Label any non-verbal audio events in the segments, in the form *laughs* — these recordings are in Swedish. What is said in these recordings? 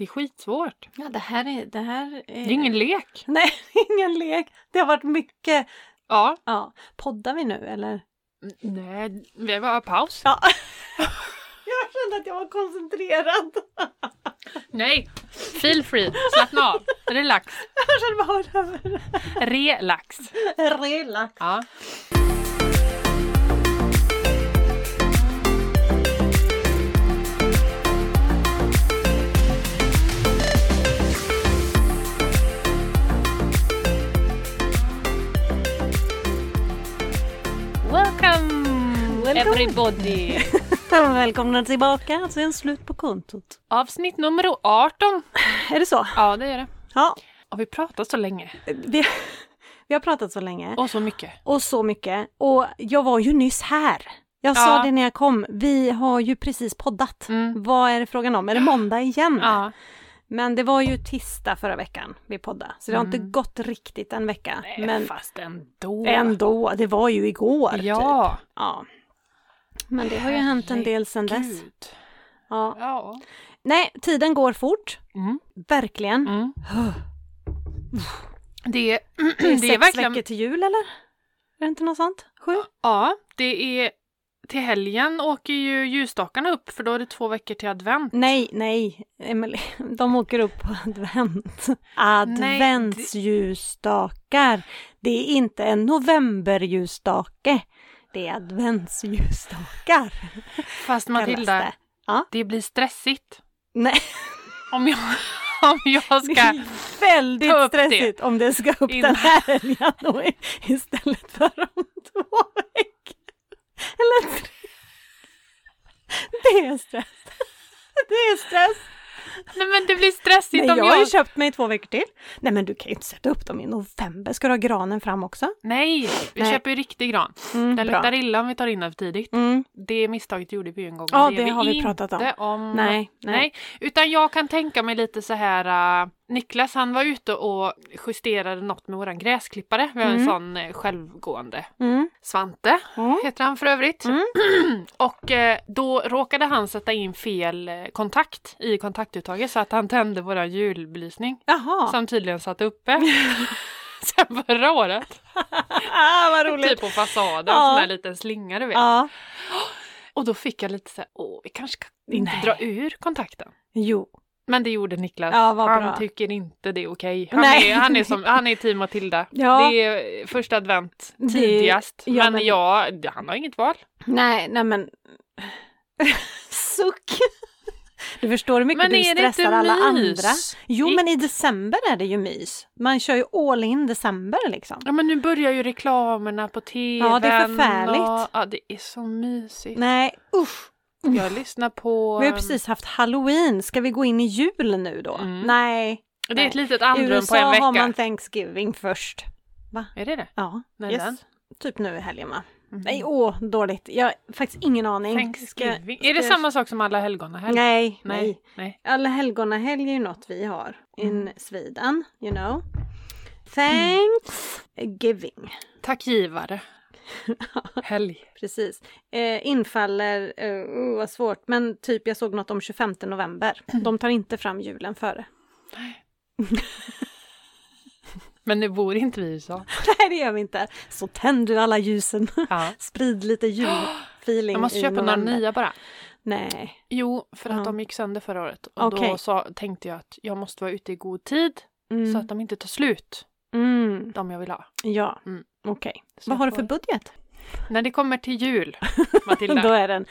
Det är skitsvårt. Ja, det här är... Det, här Det är ingen lek. *laughs* Nej, ingen lek. Det har varit mycket. Ja. Ja. Poddar vi nu eller? Nej, vi var paus. Ja. jag kände att jag var koncentrerad. Nej, feel free. Slappna av. Relax. *laughs* Jag kände bara över. Relax. Relax. Ja. Welcome, Welcome. everybody! Välkomna tillbaka till en slut på kontot. Avsnitt nummer 18. Är det så? Ja, det är det. Ja. Har vi pratat så länge? Vi, vi har pratat så länge. Och så mycket. Och så mycket. Och jag var ju nyss här. Jag Ja. sa det när jag kom. Vi har ju precis poddat. Mm. Vad är det frågan om? Är det måndag igen? Ja. Men det var ju tisdag förra veckan vi poddade. Så det har inte Mm. gått riktigt en vecka. Nej, men fast ändå. ändå, det var ju igår. Typ. Ja. ja. Men det har ju hänt en del sedan dess. Gud. Ja. Ja. Nej, tiden går fort. Mm. Verkligen. Mm. Det, Det är, *clears throat* det är sex verkligen... veckor till jul eller? Är det inte något sånt? Sju? Ja, det är... Till helgen åker ju ljusstakarna upp för då är det två veckor till advent. Nej, nej, Emily. *laughs* De åker upp på advent. det- Adventsljusstakar. Det är inte en novemberljusstake. Det är adventsljusstakar. Fast Matilda, kallas det. det. blir stressigt. Nej, *laughs* Om jag, *laughs* om jag det ska... är väldigt ta upp det. stressigt om det ska upp Innan- den här helgen och i- istället för om två veckor. Eller tre. Det är stress. Det är stress. Nej men det blir stressigt Nej, om jag har jag... ju köpt mig två veckor till. Nej, men du kan ju inte sätta upp dem i november. Ska du ha granen fram också? Nej, vi Nej. köper ju riktig gran. Mm, Den bra. luktar illa om vi tar in den för tidigt. Mm. Det misstaget gjorde vi ju en gång. Ja, men det har vi pratat om. inte om. Nej, nej. Nej. utan jag kan tänka mig lite så här. eh, Niklas han var ute och justerade något med våran gräsklippare. Vi har en Mm. sån eh, självgående Mm. Svante Mm. heter han för övrigt. Mm. *clears throat* och eh, då råkade han sätta in fel eh, kontakt i kontaktuttaget så att han tände våran julbelysning Jaha. som tydligen satt uppe. *laughs* Sen förra året, Ah, vad roligt. typ på fasaden, Ja. sån där liten slinga du vet. Ja. Och då fick jag lite så här, åh vi kanske kan inte Nej. dra ur kontakten. Jo. Men det gjorde Niklas. Ja, vad han bra. tycker inte det är okej. Han, Nej. är, han, är som- han är team Matilda. Ja. Det är första advent Det- tidigast. ja, men men- ja, det- han har inget val. Nej, nej men. Suck. Du förstår hur mycket Men du är det stressar inte alla mys? andra. Jo, men i december är det ju mys. Man kör ju all in december liksom. Ja men nu börjar ju reklamerna på tvn. Ja, det är förfärligt. Och, ja det är så mysigt. Nej, usch. Jag lyssnar på... Vi har precis haft halloween. Ska vi gå in i jul nu då? Mm. Nej. Det är ett Nej. litet I andrum på en USA vecka. har man Thanksgiving först. Är det det? Ja, När yes. den? typ nu i helgen va? Mhm. Nej, åh, dåligt. Jag har faktiskt ingen aning. Thanksgiving. Ska- är det ska jag- samma sak som alla helgonahelg? Nej, nej. Nej. Nej. Alla helgonahelg är ju något vi har in Mm. Sweden, you know. Thanksgiving, Tack *laughs* givare. Helg. precis. Eh, infaller, eh, oh, vad svårt, men typ jag såg något om 25 november. Mm. De tar inte fram julen före. *laughs* Men nu bor inte vi i *laughs* USA. Nej, det gör vi inte. Så tänd du alla ljusen. *laughs* Ja. *gasps* Sprid lite julfeeling Jag måste i köpa några november. nya bara. Nej. Jo, för att Ja. de gick sönder förra året. Och Okej. då sa, tänkte jag att jag måste vara ute i god tid Mm. så att de inte tar slut, mm. de jag vill ha. Ja, Mm. okej. Så Vad jag har du får- för budget? När det kommer till *laughs* jul, Matilda, Då är den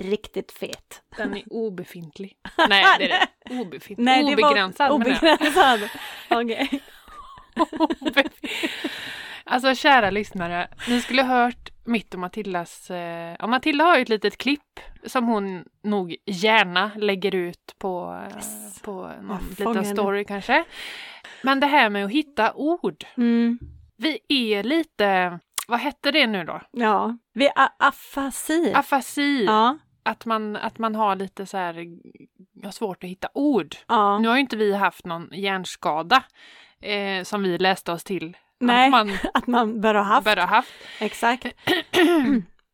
riktigt fet. den är *laughs* obefintlig. Nej, det är det. Obefintlig. det var- obegränsad, menar *laughs* Obegränsad. Okej. jag. Obefin- *laughs* Alltså kära lyssnare, ni skulle ha hört mitt och Matildas... Eh, ja, Matilda har ju ett litet klipp som hon nog gärna lägger ut på, eh, Yes. på Jag någon fångar liten den. story kanske. Men det här med att hitta ord. Mm. Vi är lite, vad hette det nu då? Ja, vi är afasi. Afasi. ja, Att, man, att man har lite så här, jag har svårt att hitta ord. ja. Nu har ju inte vi haft någon hjärnskada eh, som vi läste oss till Nej, att man att man bör ha *laughs* haft. bör ha haft. Exakt.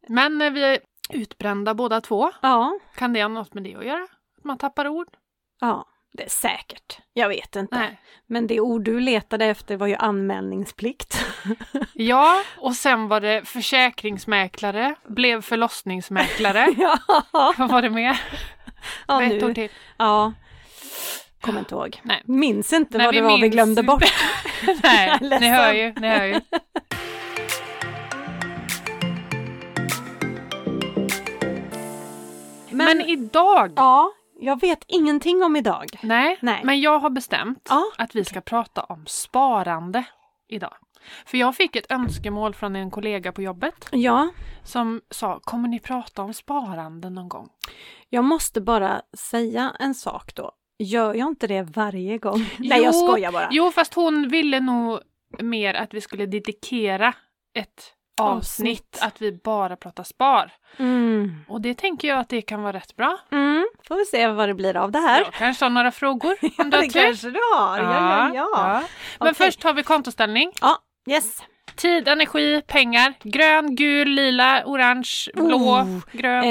Men eh, vi är utbrända båda två. Ja, Kan det ha något med det att göra? Att man tappar ord? ja. Det är säkert. Jag vet inte. Nej. Men det ord du letade efter var ju *laughs* anmälningsplikt. Ja, och sen var det försäkringsmäklare, blev förlossningsmäklare. *laughs* ja, Vad var det mer? ja, Vad ett ord nu. till. Ja. Kommer inte ihåg. Nej. Minns inte Nej, vad vi det var vi minns glömde inte. bort. *laughs* Nej, Jag är ni hör ju, ni hör ju. Men, idag! Ja, jag vet ingenting om idag. Nej, Nej. men jag har bestämt Ja. att vi ska prata om sparande idag. För jag fick ett önskemål från en kollega på jobbet Ja, som sa, kommer ni prata om sparande någon gång? jag måste bara säga en sak då. Gör jag inte det varje gång? Nej, Jo, jag skojar bara. Jo, fast hon ville nog mer att vi skulle dedikera ett avsnitt, Avsnitt. att vi bara pratar spar. Mm. Och det tänker jag att det kan vara rätt bra. Mm. Får vi se vad det blir av det här. Jag kanske har några *laughs* frågor om du har det tur. kanske du har. Ja, ja, ja. Men Okej. först har vi kontoställning. ja. Yes. Tid, energi, pengar. Grön, gul, lila, orange, blå, Oh. grön.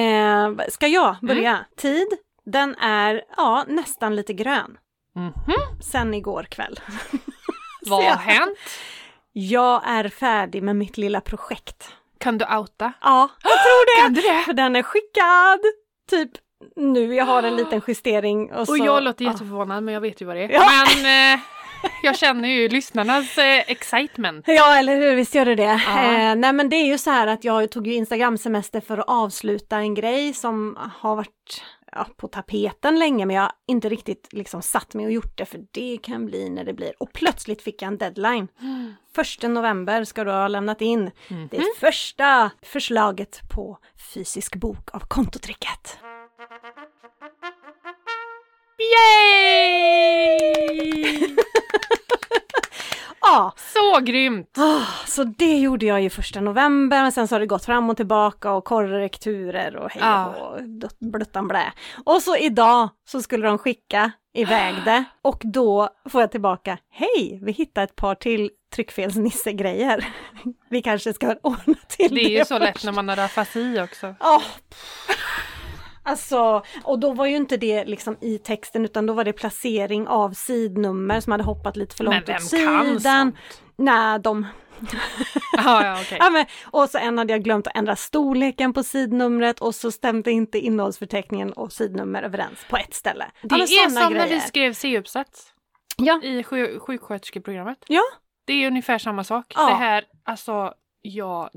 Eh, ska jag Mm. börja? Tid, den är ja, nästan lite grön Mhm. sen igår kväll. *laughs* Vad har jag. hänt? Jag är färdig med mitt lilla projekt. Kan du outa? Ja, jag tror *gasps* det! Kan du det? För den är skickad typ nu. Jag har *gasps* en liten justering. Och, så, Och jag låter ja. jätteförvånad men jag vet ju vad det är. Ja. Men eh, jag känner ju lyssnarnas eh, excitement. Ja, eller hur, visst gör du det. Ja. Eh, nej men det är ju så här att jag tog ju Instagram-semester för att avsluta en grej som har varit ja, på tapeten länge men jag har inte riktigt liksom satt mig och gjort det för det kan bli när det blir. Och plötsligt fick jag en deadline. Första november ska du ha lämnat in Mm. det första förslaget på fysisk bok av kontotricket. Yay! Ja, Så grymt! ah, så det gjorde jag ju första november men sen så har det gått fram och tillbaka och korrekturer och hej Ja. och dött- blöttan blä. Och så idag så skulle de skicka iväg *gasps* det och då får jag tillbaka, hej, vi hittade ett par till tryckfelsnisse-grejer. Vi kanske ska ordna Det till det. är ju så lätt först." när man har afasi också. Ja. Alltså, och då var ju inte det liksom i texten utan då var det placering av sidnummer som hade hoppat lite för Men långt vem åt kan sidan. sånt? Nej, de Ja, ja, okej. Ja, men, och så en hade jag glömt att ändra storleken på sidnumret och så stämde inte innehållsförteckningen och sidnummer överens på ett ställe. Det ja, men är såna som när vi skrev C-uppsats Ja, i sju- sjuksköterskeprogrammet. ja. Det är ungefär samma sak. Ja. Det här, alltså, jag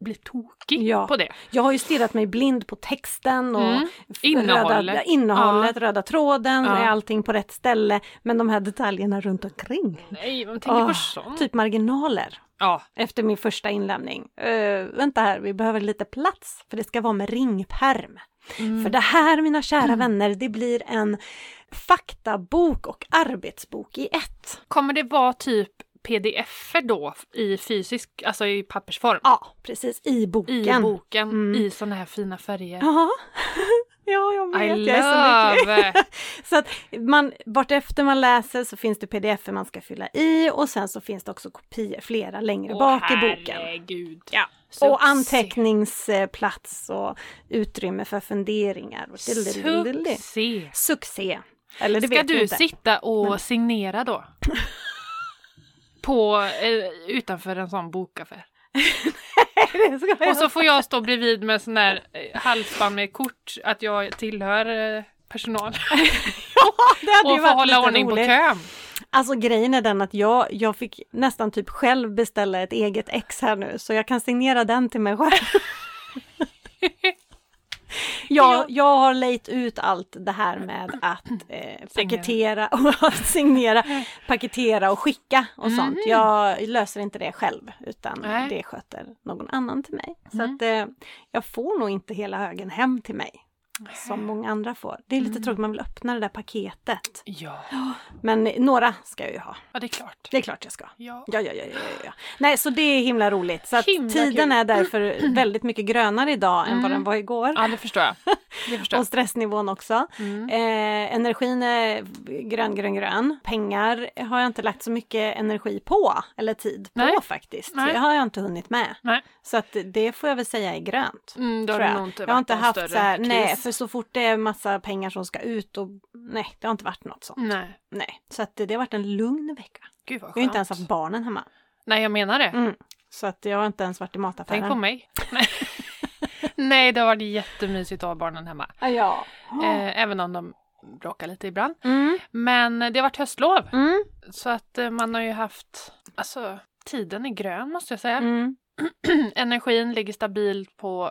blir tokig Ja. på det. Jag har ju stirrat mig blind på texten och Mm. f- Innehållet. Röda, ja, innehållet röda tråden, Ja. är allting på rätt ställe. Men de här detaljerna runt omkring, Nej, vem tänker Åh, på sånt? typ marginaler. Ja, Efter min första inlämning. Eh, vänta här, vi behöver lite plats för det ska vara med ringperm. Mm. För det här mina kära vänner, det blir en faktabok och arbetsbok i ett. Kommer det vara typ pdf då i fysisk, alltså i pappersform? Ja, precis, i boken. I boken, Mm. i såna här fina färger. Ja. *laughs* ja, jag vet, I jag är så lycklig. *laughs* love! Så att man, vartefter man läser så finns det pdf man ska fylla i och sen så finns det också kopior, flera längre Åh, bak i boken. Herregud. Ja. Succé. Och anteckningsplats och utrymme för funderingar. Och dilidilidili. Succé! Succé! Eller det Ska vet vi du inte. sitta och signera då? På, eh, utanför en sån bokaffär. *laughs* Det ska jag Och så får jag stå bredvid med sån där eh, halsband med kort att jag tillhör eh, *laughs* personal. Det hade Och ju få varit hålla lite ordning på roligt. kön. Alltså grejen är den att jag, jag fick nästan typ själv beställa ett eget ex här nu, så jag kan signera den till *laughs* mig själv. Ja. Jag, jag har lejt ut allt det här med att eh, paketera och *laughs* att signera, paketera och skicka och sånt. Jag löser inte det själv utan Mm. Nej. det sköter någon annan till mig. Så Mm. att eh, jag får nog inte hela högen hem till mig som många andra får. Det är Mm. lite tråkigt, man vill öppna det där paketet. Ja, Men några ska jag ju ha. ja det är klart. Det är klart jag ska. Ja. Ja, ja, ja, ja, ja, ja. Nej, så det är himla roligt. Så att Himla tiden kul. är därför väldigt mycket grönare idag än Mm. vad den var igår. ja, det förstår *laughs* jag. Det förstår jag. Och stressnivån också. Mm. Eh, energin är grön, grön, grön. Pengar har jag inte lagt så mycket energi på, eller tid på Nej. faktiskt. Nej. Det har jag inte hunnit med. Nej. Så att det får jag väl säga är grönt. Mm, då har tror det jag. nog inte jag har varit inte någon haft större så här, nej kris. För så fort det är massa pengar som ska ut och nej, det har inte varit något sånt. Nej. Nej, så att det, det har varit en lugn vecka. Gud Mm. vad skönt. Jag har inte ens haft barnen hemma. Nej, jag menar det. Mm. Så att jag har inte ens varit i mataffären. Tänk på mig. *laughs* *laughs* Nej. Nej, det har varit jättemysigt att ha barnen hemma. Ah, Ja. Eh, även om de bråkar lite ibland. Mm. Men det har varit höstlov. Mm. Så att eh, man har ju haft, alltså tiden är grön måste jag säga. Mm. *clears throat* Energin ligger stabilt på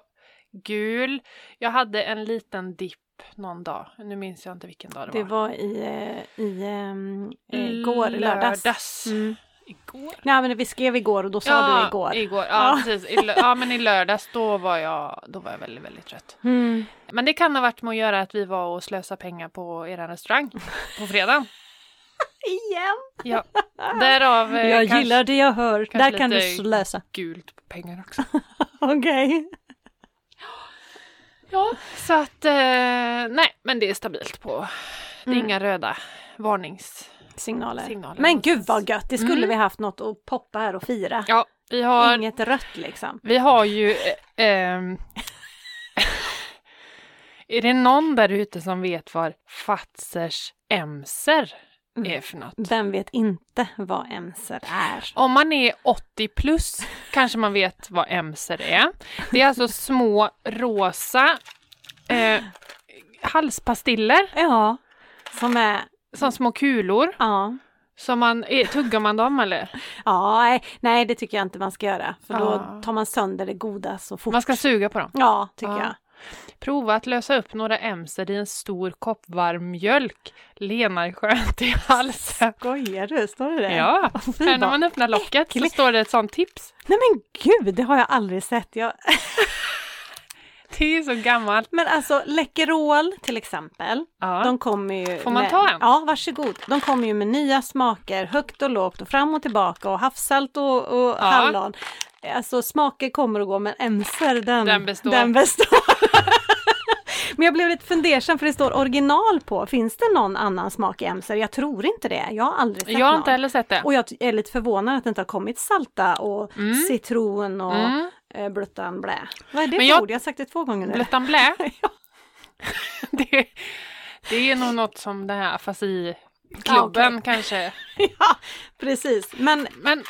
gul. Jag hade en liten dipp någon dag. Nu minns jag inte vilken dag det, Det var. var i, eh, i ehm, igår, lördags. Mm, Lördags. Mm. Igår? Nej men vi skrev igår och då sa du igår. igår. Ja, Ja. precis. I, lö- ja, men i lördags då var jag, då var jag väldigt, väldigt trött. Mm. Men det kan ha varit med att göra att vi var och slösade pengar på er restaurang på *laughs* fredagen. Igen! Ja, därav eh, Jag kanske gillar det jag hör. kanske Där kan du lite- slösa. gult på pengar också. *laughs* Okej. Ja, så att eh, nej, men det är stabilt på. Det är Mm. inga röda varningssignaler. Signaler. Men gud vad gött, det skulle Mm. vi haft något att poppa här och fira. Ja, vi har, Inget rött liksom. vi har ju... Eh, ehm, *laughs* är det någon där ute som vet vad Fazers emser är för något? Vem vet inte vad emser är? Om man är 80 plus kanske man vet vad emser är. Det är alltså små rosa eh, halspastiller Ja, som är... som små kulor. Ja. Som man, eh, tuggar man dem eller? ja nej, nej, det tycker jag inte man ska göra. För Ja. då tar man sönder det goda så fort. Man ska suga på dem. Ja, tycker Ja. jag. Prova att lösa upp några emser i en stor kopp varm mjölk. Lenar skönt i halsen. Skojar du? Står det det? Ja, Fy, här när vad- man öppnar locket så äckligt. står det ett sånt tips. Nej men gud, det har jag aldrig sett. Jag... *laughs* Det är så gammalt. Men alltså Läkerol till exempel, Ja. de kommer ju... Får man med... ta en? Ja, varsågod. De kommer ju med nya smaker, högt och lågt och fram och tillbaka och havssalt och, och hallon. Alltså smaker kommer och går men emser den, Den består. Den består. *laughs* men jag blev lite fundersam för det står original på. Finns det någon annan smak i emser? Jag tror inte det. Jag har aldrig sett Jag har någon. inte heller sett det. Och jag är lite förvånad att det inte har kommit salta och Mm. citron och Mm. eh, blöttan blä. Vad är det Men för jag- ord? Jag har sagt det två gånger nu. Blöttan blä. *laughs* Ja. Det, det är nog något som den här afasiklubben Ja, okej. kanske. ja, precis. Men Men eh,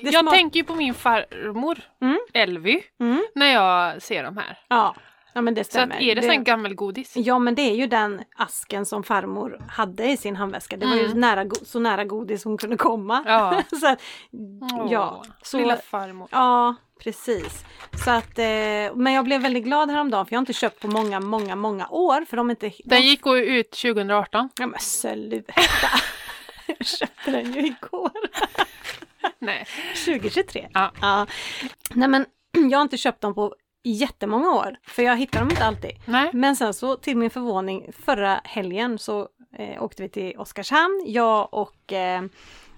Det jag smak- tänker ju på min farmor Mm. Elvy Mm. när jag ser de här. ja, ja men det Så att stämmer. är det sen gammelgodis? Ja men det är ju den asken som farmor hade i sin handväska. Det var ju Mm. nära, go- så nära godis hon kunde komma. Ja. *laughs* så att, Åh, ja, så, Lilla farmor. ja, precis. Så att, eh, men jag blev väldigt glad häromdagen för jag har inte köpt på många, många, många år. För de är inte... Den gick ju ut 2018. Ja men sluta! *laughs* jag köpte den ju *laughs* igår. Nej. 2023. Ja. Nej men *clears throat* jag har inte köpt dem på jättemånga år. För jag hittar dem inte alltid. Nej. Men sen så till min förvåning förra helgen så eh, åkte vi till Oskarshamn, jag och eh,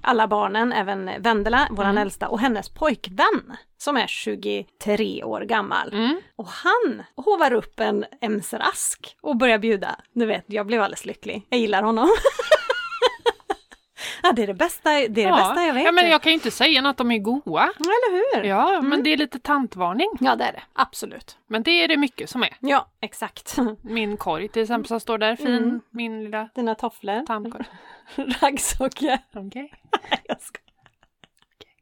alla barnen, även Vendela, våran Mm. äldsta, och hennes pojkvän som är 23 år gammal. Mm. Och han hovar upp en emserask och börjar bjuda. Du vet, jag blev alldeles lycklig. Jag gillar honom. *laughs* ja, det är det bästa, det är det bästa jag vet. Mm. ja, men jag kan ju inte säga något, de är goa. Ja, Eller hur? Ja, men det är lite tantvarning. ja, det är det. Absolut. Men det är det mycket som är. Ja, exakt. *laughs* Min korg till exempel som står där, fin. Mm. Min lilla Dina tofflor, *laughs* tandkorg. raggsockor. Okej, Nej, jag skojar.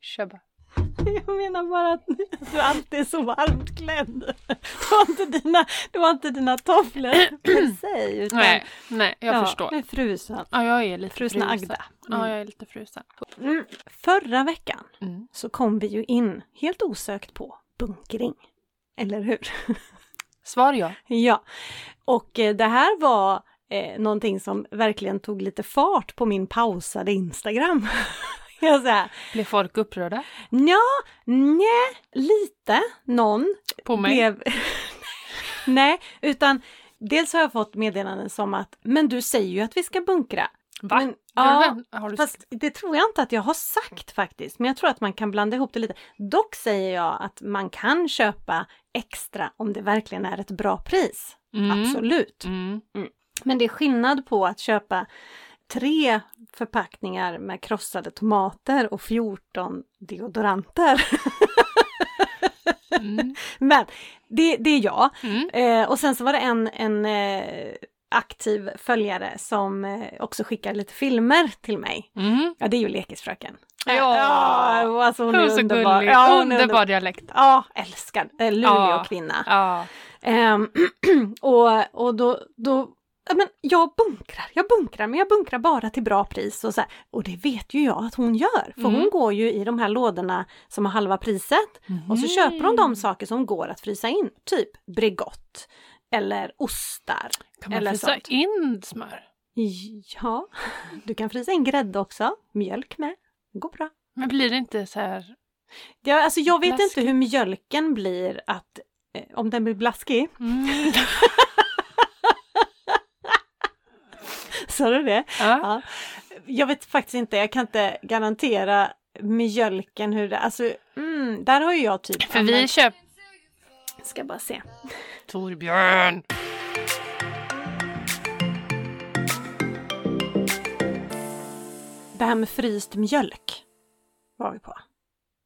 kör bara. *laughs* Jag menar bara att du alltid är så varmt klädd. Det var inte dina, det var inte dina tofflor för *clears throat* sig. Utan, Nej, nej, jag ja, förstår. Du är frusen. Ja, jag är lite Frusna Agda. Ja, jag är lite frusen. Mm. Förra veckan Mm. så kom vi ju in helt osökt på bunkring. Eller hur? *laughs* Svar ja. Ja. Och eh, det här var eh, någonting som verkligen tog lite fart på min pausade Instagram. *laughs* Jag säger, Blir folk upprörda? ja, nej, lite, någon, På mig? blev... *laughs* Nej, utan dels har jag fått meddelanden som att men du säger ju att vi ska bunkra. Va? Men, Har ja, du- har du fast det tror jag inte att jag har sagt faktiskt, men jag tror att man kan blanda ihop det lite. Dock säger jag att man kan köpa extra om det verkligen är ett bra pris. Mm. Absolut. Mm. Men det är skillnad på att köpa tre förpackningar med krossade tomater och 14 deodoranter. Mm. *laughs* Men det, det är jag. Mm. Eh, och sen så var det en, en eh, aktiv följare som eh, också skickade lite filmer till mig. Mm. Ja, det är ju Lekisfröken. Eh, Ja. ja alltså hon, Hon är är så underbar. gullig. Ja, hon är Underbar underbar. dialekt. Ja, älskad. Eh, Ja. Luleåkvinna. Ja. Ehm, *clears throat* och och då, då ja, men jag bunkrar, jag bunkrar, men jag bunkrar bara till bra pris. Och, så här, och det vet ju jag att hon gör, för hon Mm. går ju i de här lådorna som har halva priset. Mm. Och så köper hon Mm. de saker som går att frysa in, typ Bregott eller ostar. Kan man eller frysa sånt. in smör? Ja, *laughs* du kan frysa in grädde också, mjölk med, det går bra. Men blir det inte så här... Jag, alltså jag vet Blaskigt. inte hur mjölken blir att, eh, om den blir blaskig, *laughs* Mm. sa du det? Ja. Ja. Jag vet faktiskt inte, jag kan inte garantera mjölken hur det, alltså mm, där har ju jag typ... För vi köper... ska bara se. Torbjörn! Det här med fryst mjölk var vi på.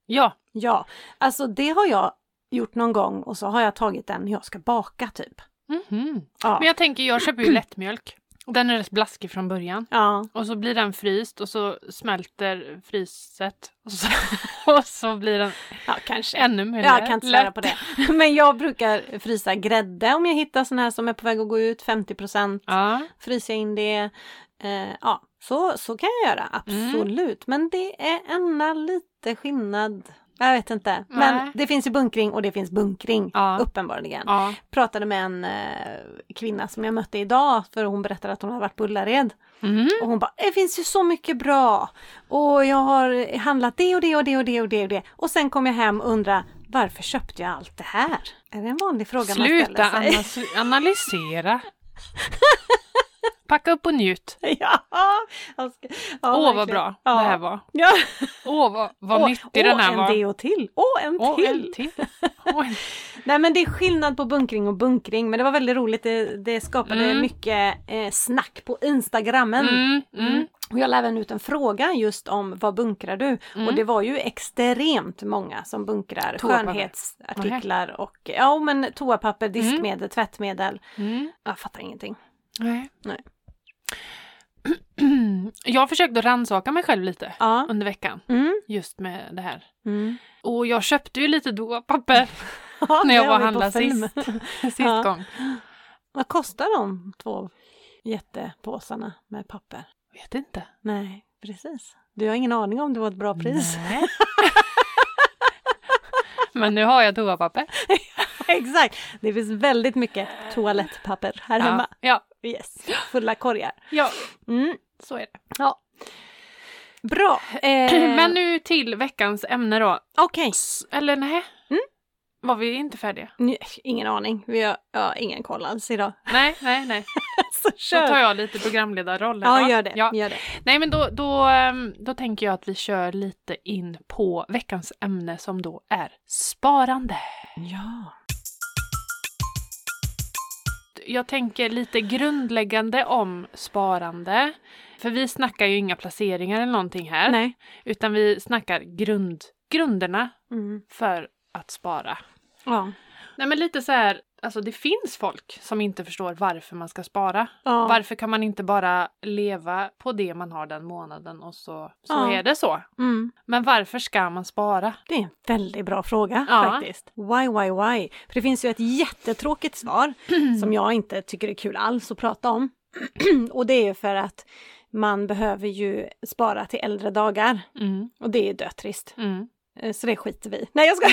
Ja. Ja, alltså det har jag gjort någon gång och så har jag tagit den när jag ska baka typ. Mhm. Ja, Men jag tänker, jag köper ju lättmjölk. Den är rätt blaskig från början. ja. Och så blir den fryst och så smälter fryset. Och så, *laughs* och så blir den ja kanske. ännu mer Jag kan inte svära lätt. på det. *laughs* Men jag brukar frysa grädde om jag hittar sån här som är på väg att gå ut, 50 procent. Ja. fryser jag in det. Eh, ja, så, så kan jag göra, Mm. absolut. Men det är ena lite skillnad. Jag vet inte. Men Nej. det finns ju bunkring och det finns bunkring, Ja. uppenbarligen. ja. Pratade med en eh, kvinna som jag mötte idag, för hon berättade att hon hade varit på Ullared. Mhm. Och hon bara, det finns ju så mycket bra! Och jag har handlat det och det och det och det och det och det. Och sen kom jag hem och undrade, varför köpte jag allt det här? Är det en vanlig fråga man Sluta ställer sig? analys- analysera. Packa upp och njut. *laughs* ja, jag ska- ja, Åh, vad verkligen. bra Ja. det här var. Ja. Åh, vad, vad Åh, nyttig åh, den här en var. deo till! Åh, en Åh, till! en till. Åh, *laughs* en- Nej men det är skillnad på bunkring och bunkring men det var väldigt roligt, det, det skapade Mm. mycket eh, snack på instagrammen. Mm, mm. Och jag la även ut en fråga just om vad bunkrar du? Och Mm. det var ju extremt många som bunkrar Toapapper. skönhetsartiklar och ja men toapapper, diskmedel, tvättmedel. Mm. Jag fattar ingenting. Nej. Nej. *clears throat* Jag försökte rannsaka mig själv lite Ja. under veckan Mm. just med det här. Mm. *laughs* Och jag köpte ju lite dopapper Det när jag har var och vi på handlade film. sist, *laughs* *laughs* sist Ja. gång. Vad kostar de två jättepåsarna med papper? Vet inte. Nej, precis. Du har ingen aning om det var ett bra pris. Nej. *laughs* Men nu har jag toapapper. *laughs* Exakt! Det finns väldigt mycket toalettpapper här hemma. Ja, Yes, fulla korgar. ja, Mm. så är det. Bra! *clears throat* Eh, Men nu till veckans ämne då. Okej, S- Eller nej? Mm. Var vi inte färdiga? Nu- ingen aning. Vi har ja, ingen koll alls idag. *laughs* Nej, nej, nej. Så Då tar kör! jag lite programledarrollen. Ja, va? gör det. Ja. Gör det. Nej, men då, då, ehm, då tänker jag att vi kör lite in på veckans ämne som då är sparande. Ja. Jag tänker lite grundläggande om sparande. För vi snackar ju inga placeringar eller någonting här. Nej. Utan vi snackar grund, grunderna Mm. för att spara. Ja. Nej men lite så här, alltså det finns folk som inte förstår varför man ska spara. Ja. Varför kan man inte bara leva på det man har den månaden och så, så Ja. är det så. Mm. Men varför ska man spara? Det är en väldigt bra fråga Ja. faktiskt. Why, why, why? För det finns ju ett *clears throat* jättetråkigt svar som jag inte tycker är kul alls att prata om. *clears throat* och det är ju för att man behöver ju spara till äldre dagar Mm, och det är ju dötrist. mm. Eh, Så det skiter vi i. Nej jag ska.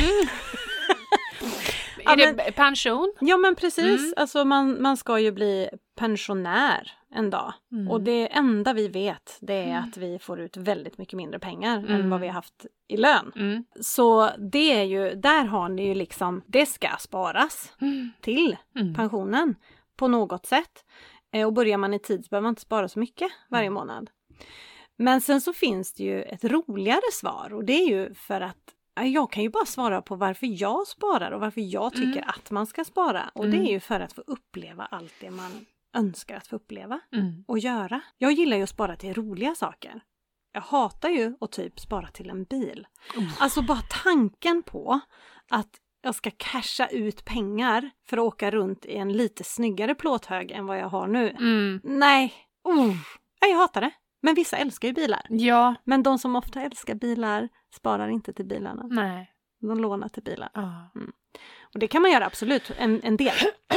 Ja, är det men- b- pension? Ja men precis, Mm. alltså man, man ska ju bli pensionär en dag. Mm. Och det enda vi vet det är Mm. att vi får ut väldigt mycket mindre pengar än Mm. vad vi har haft i lön. Mm. Så det är ju, där har ni ju liksom, det ska sparas Mm. till Mm. pensionen på något sätt. Eh, Och börjar man i tid så behöver man inte spara så mycket Mm. varje månad. Men sen så finns det ju ett roligare svar och det är ju för att ja, jag kan ju bara svara på varför jag sparar och varför jag tycker Mm. att man ska spara. Och det Mm. är ju för att få uppleva allt det man önskar att få uppleva Mm. och göra. Jag gillar ju att spara till roliga saker. Jag hatar ju att typ spara till en bil. Alltså bara tanken på att jag ska casha ut pengar för att åka runt i en lite snyggare plåthög än vad jag har nu. Mm. Nej, oh, nej, jag hatar det. Men vissa älskar ju bilar. Ja. Men de som ofta älskar bilar sparar inte till bilarna. Nej. De lånar till bilar. Ja. Och det kan man göra absolut, en, en del.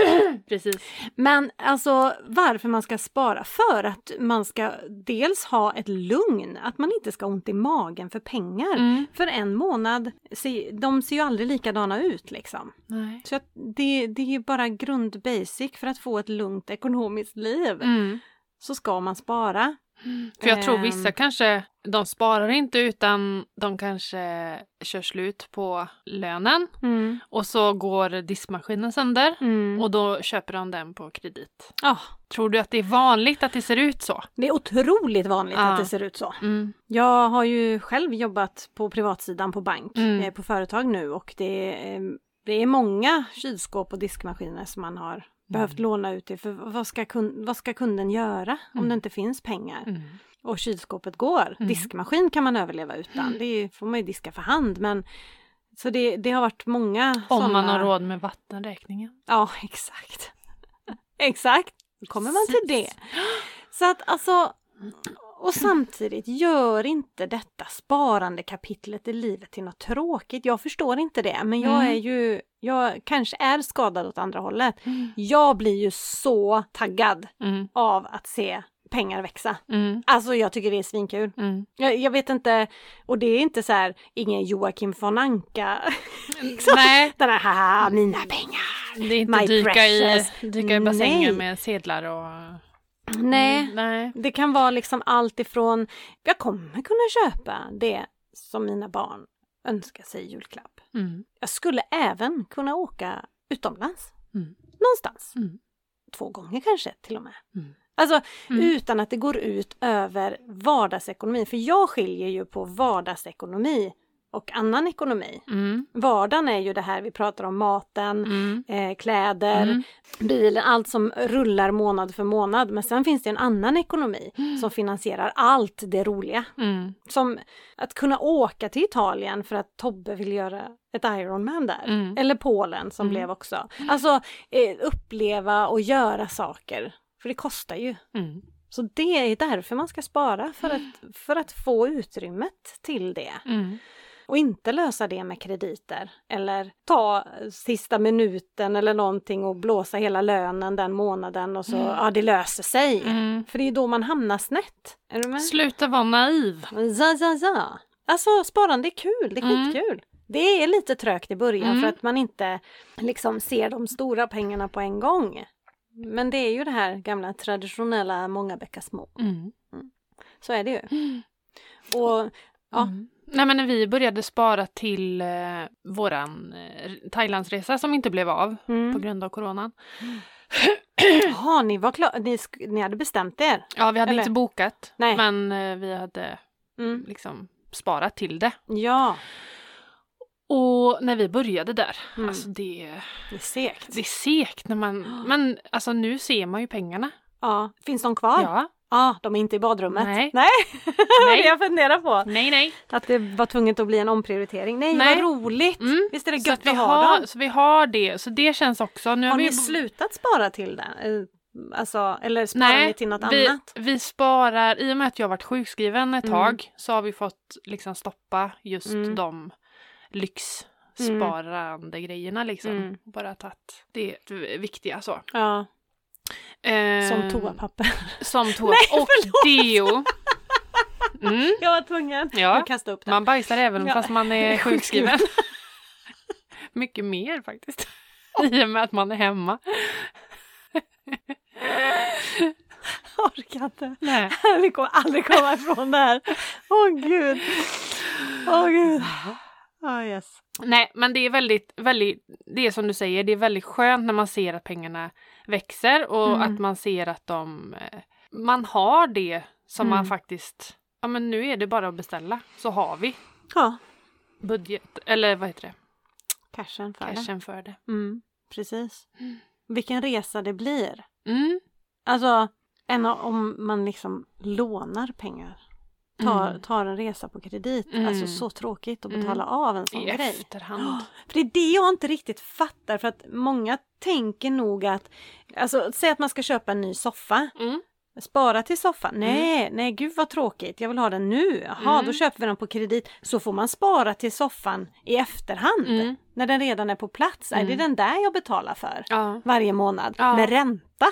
Mm, Precis. Men alltså varför man ska spara? För att man ska dels ha ett lugn, att man inte ska ha ont i magen för pengar. Mm. För en månad, se- de ser ju aldrig likadana ut liksom. Nej. Så att det, det är ju bara grundbasic för att få ett lugnt ekonomiskt liv. Mm. Så ska man spara. För jag tror vissa Ehm. kanske, de sparar inte utan de kanske kör slut på lönen och så går diskmaskinen sönder Mm. Mm. och då köper de den på kredit. Ah, Tror du att det är vanligt att det ser ut så? det är otroligt vanligt Ja. att det ser ut så. Mm. Jag har ju själv jobbat på privatsidan på bank, Mm. eh, på företag nu och det, eh, det är många kylskåp och diskmaskiner som man Mm. har behövt låna ut till. För vad ska, kun, vad ska kunden göra om Mm. det inte finns pengar? Mm. Och kylskåpet går. Diskmaskin kan man överleva utan. Det är, får man ju diska för hand. Men, så det, det har varit många Om såna- man har råd med vattenräkningen. Ja, *laughs* exakt. exakt. Då kommer man till det. Precis. Så att alltså, och samtidigt, gör inte detta sparande kapitlet i livet till något tråkigt. Jag förstår inte det, men jag Mm. är ju, jag kanske är skadad åt andra hållet. Jag blir ju så taggad Mm. av att se pengar växa. Mm. Alltså jag tycker det är svinkul. Mm. Jag, jag vet inte, och det är inte så här, ingen Joakim von Anka, *laughs* Nej, den här haha, mina pengar. det är inte My dyka i, precious. dyka i bassänger Nej. med sedlar och... Nej, Mm, Nej. Det kan vara liksom allt ifrån jag kommer kunna köpa det som mina barn önskar sig i julklapp. Mm. Jag skulle även kunna åka utomlands. Mm. Någonstans. Mm. Två gånger kanske till och med. Mm. Alltså Mm. utan att det går ut över vardagsekonomin. För jag skiljer ju på vardagsekonomi och annan ekonomi. Mm. Vardagen är ju det här vi pratar om, maten, Mm. eh, kläder, Mm. bilen, allt som rullar månad för månad. Men sen finns det en annan ekonomi som finansierar allt det roliga. Mm. Som att kunna åka till Italien för att Tobbe vill göra ett Ironman där. Mm. Eller Polen som Mm. blev också. Alltså eh, uppleva och göra saker. För det kostar ju. Mm. Så det är därför man ska spara, för att, för att få utrymmet till det. Mm. Och inte lösa det med krediter eller ta sista minuten eller någonting och blåsa hela lönen den månaden och så, Mm. ja det löser sig. Mm. För det är då man hamnar snett. Är du med? Sluta vara naiv. Ja, ja, ja. Alltså sparande är kul, det är Mm. skitkul. Det är lite trögt i början Mm. för att man inte liksom ser de stora pengarna på en gång. Men det är ju det här gamla traditionella många bäckar små. Mm. Så är det ju. Och Ja. Mm. Nej men när vi började spara till eh, våran eh, Thailandsresa som inte blev av på mm. grund av coronan. Jaha, ni var klara, ni, sk- ni hade bestämt er. Ja vi hade Eller? inte bokat Nej. men eh, vi hade Mm. liksom sparat till det. Ja, Och när vi började där, Mm. alltså det, det är segt. det är segt när *gasps* man, men alltså nu ser man ju pengarna. Ja. Finns de kvar? Ja. Ja. de är inte i badrummet. Nej. Nej, *laughs* det Nej, jag funderar på. nej, nej. Att det var tvunget att bli en omprioritering. Nej, Nej. vad roligt! Mm. Visst är det Så gött att vi att ha har, dem? så vi har det, så det känns också. Nu Har vi ni bo- slutat spara till det? Eh, Alltså, eller sparar Nej, ni till något vi, annat? vi sparar, i och med att jag har varit sjukskriven ett Mm. tag så har vi fått liksom stoppa just Mm. de lyxsparande grejerna liksom. Mm. Bara tagit det viktiga så. Ja, Eh, som toapapper. *laughs* Som toa. Nej, och deo. Mm, jag var tvungen Ja. att kasta upp den. man bajsar även Ja. fast man är sjukskriven. *laughs* Mycket mer *laughs* faktiskt. I och med att man är hemma. Jag *laughs* orkar inte. *laughs* Nej. Vi kommer aldrig komma ifrån det här. Åh gud. Åh gud. Oh, yes. Nej, men det är väldigt, väldigt, det är som du säger, det är väldigt skönt när man ser att pengarna växer och Mm. att man ser att de, eh, man har det som man Mm. faktiskt, ja men nu är det bara att beställa så har vi Ja, budget, eller vad heter det, cashen för det. cashen Mm. för det. Mm, precis. Vilken resa det blir. Mm. Alltså, än om man liksom lånar pengar. tar, Mm. tar en resa på kredit. Mm. Alltså så tråkigt att Mm. betala av en sån I grej. efterhand. *gasps* För det är det jag inte riktigt fattar för att många tänker nog att, alltså säg att man ska köpa en ny soffa, Mm. spara till soffan, nej, nej gud vad tråkigt, jag vill ha den nu, jaha Mm. då köper vi den på kredit, så får man spara till soffan i efterhand Mm. när den redan är på plats, nej, det är den där jag betalar för Ja. varje månad Ja. med *gasps* ränta.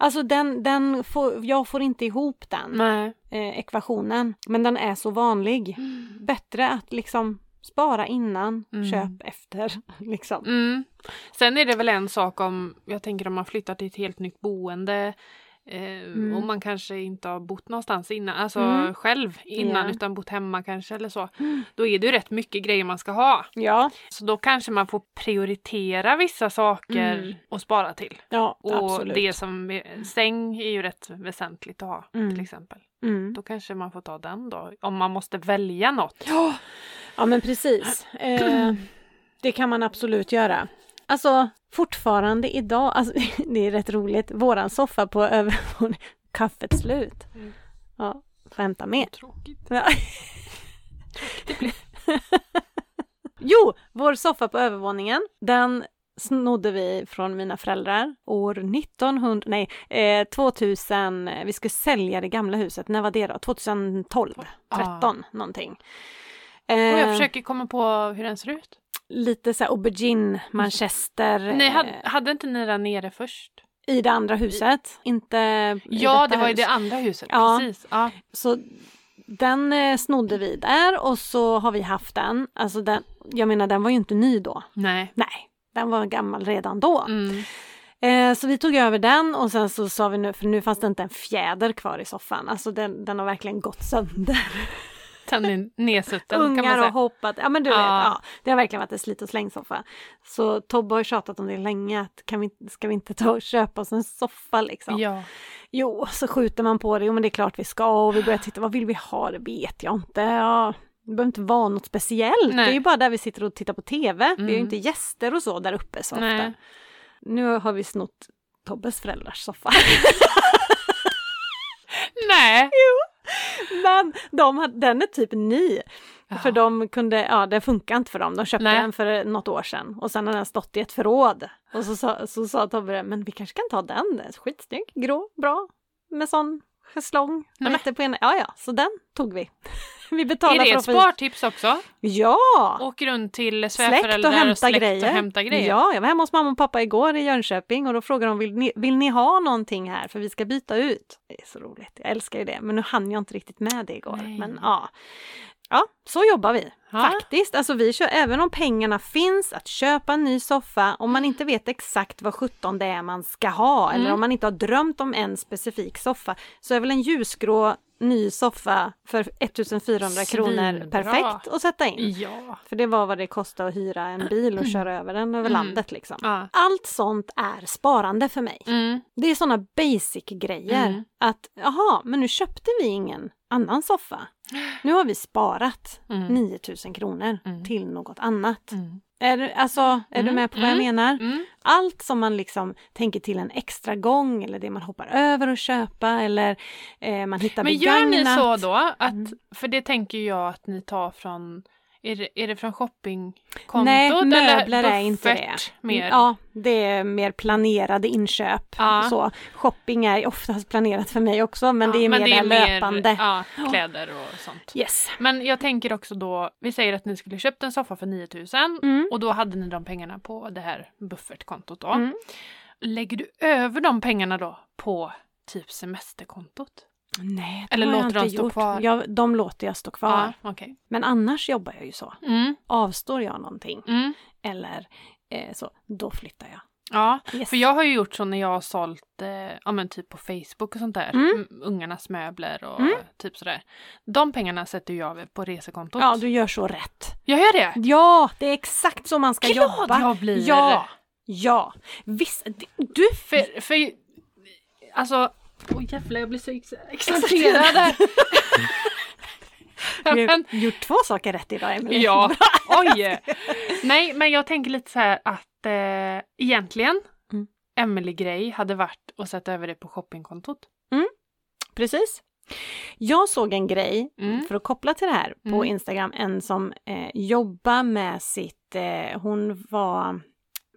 Alltså den, den får, jag får inte ihop den Nej. eh, ekvationen, men den är så vanlig bättre att liksom spara innan, Mm. köp efter. *laughs* Liksom. Mm. Sen är det väl en sak om, jag tänker om man flyttar till ett helt nytt boende eh, och man kanske inte har bott någonstans innan, alltså Mm. själv innan Ja. Mm. utan bott hemma kanske eller så. Då är det ju rätt mycket grejer man ska ha. Ja, Så då kanske man får prioritera vissa saker Mm. och spara till. ja Och absolut. det som, är- säng är ju rätt väsentligt att ha till Mm. exempel. Mm. Då kanske man får ta den då, om man måste välja något. Ja men precis. *clears throat* Eh, det kan man absolut göra. Alltså fortfarande idag, alltså, *laughs* det är rätt roligt, våran soffa på *laughs* övervåningen, kaffet slut. Mm. Ja, skämta mer. Tråkigt. Ja. Jo, vår soffa på övervåningen, den snodde vi från mina föräldrar år 1900, nej, eh, 2000, vi skulle sälja det gamla huset, när var det då? 2012, 13 någonting. Ah. Och jag Eh, försöker komma på hur den ser ut. lite så här aubergine, manchester Ni hade, eh, hade inte ni den nere först? i det andra huset. Inte i Ja, detta det var i hus. det andra huset. Ja. Precis. Ja. Så den eh, snodde vi där och så har vi haft den. Alltså den, jag menar den var ju inte ny då. Nej. Nej, den var gammal redan då. Mm. Eh, så vi tog över den och sen så sa vi nu, för nu fanns det inte en fjäder kvar i soffan. Alltså den, den har verkligen gått sönder. Den är nedsutten kan man Ungar och säga. hoppat, ja men du vet, Ja. ja, det har verkligen varit en slit och släng soffa. Så Tobbe har ju tjatat om det länge, att kan vi, ska vi inte ta och köpa oss en soffa liksom? Ja. Jo, så skjuter man på det, jo men det är klart vi ska och vi börjar titta, vad vill vi ha, det vet jag inte. Ja, det behöver inte vara något speciellt, Nej. det är ju bara där vi sitter och tittar på TV. Vi har ju Mm. inte gäster och så där uppe så Nej. ofta. Nu har vi snott Tobbes föräldrars soffa. Nej. Men de, hade- den är typ ny. Ja. För de kunde, ja den funkar inte för dem. De köpte Nej. den för något år sedan och sen har den stått i ett förråd. Och så, sa- så sa Tobbe det, men vi kanske kan ta den, den är skitsnygg, grå, bra, med sån schäslong. men- Mätte på ena, ja ja, så den tog vi. *laughs* vi Är betalade det för ett att få hit- spartips också? Ja! Åk runt till Släkt svärföräldrar och hämta släkt grejer. och hämta grejer. Ja, jag var hemma hos mamma och pappa igår i Jönköping och då frågade de, vill ni, vill ni ha någonting här för vi ska byta ut? Det är så roligt, jag älskar ju det, men nu hann jag inte riktigt med det igår. Nej. Men ja. ja, så jobbar vi. Ja. Faktiskt, alltså vi kör, även om pengarna finns att köpa en ny soffa, om man inte vet exakt vad sjutton det är man ska ha, eller Mm. om man inte har drömt om en specifik soffa, så är väl en ljusgrå ny soffa för 1400 kronor Svinbra. perfekt att sätta in. Ja. För det var vad det kostade att hyra en bil och köra över den över Mm. landet liksom. ja. Allt sånt är sparande för mig. Mm. Det är såna basic grejer. Mm. Att jaha, men nu köpte vi ingen annan soffa. Nu har vi sparat Mm. 9000 kronor Mm. till något annat. Mm. Är, du- alltså, är du Mm. med på vad jag Mm. menar? Mm. Allt som man liksom tänker till en extra gång eller det man hoppar över att köpa eller eh, man hittar Men gör begagnat. ni så då? Att, Mm. För det tänker jag att ni tar från är det, är det från shoppingkontot? Nej, möbler eller är inte det. buffert Mer? Ja, det är mer planerade inköp. Ja. Så, shopping är oftast planerat för mig också, men det är mer det här löpande. ja, kläder och sånt. Yes. Men jag tänker också då, vi säger att ni skulle köpt en soffa för 9000 Mm. och då hade ni de pengarna på det här buffertkontot då. Mm. Lägger du över de pengarna då på typ semesterkontot? Nej, det Eller har jag låter inte de stå gjort. kvar? Jag, de låter jag stå kvar. okej. Men annars jobbar jag ju så. Mm, Avstår jag någonting mm. eller eh, så, då flyttar jag. Ja, Yes. för jag har ju gjort så när jag har sålt, eh, ja men typ på Facebook och sånt där, Mm. m- ungarnas möbler och Mm. typ sådär. De pengarna sätter ju jag på resekontot. Ja, du gör så rätt. Jag gör det! Ja, det är exakt så man ska Glad jobba. jag blir! Ja, ja. Visst, du För, för alltså, åh jävlar jag blir så ex- exalterad *laughs* här. Ja, *laughs* Vi men- har gjort två saker rätt idag, Emelie. *laughs* ja, oj! Nej, men jag tänker lite så här att eh, egentligen Mm. Emily grej hade varit att sätta över det på shoppingkontot. Mm. Precis. Jag såg en grej, Mm. för att koppla till det här, på Mm. Instagram, en som eh, jobbar med sitt, eh, hon var,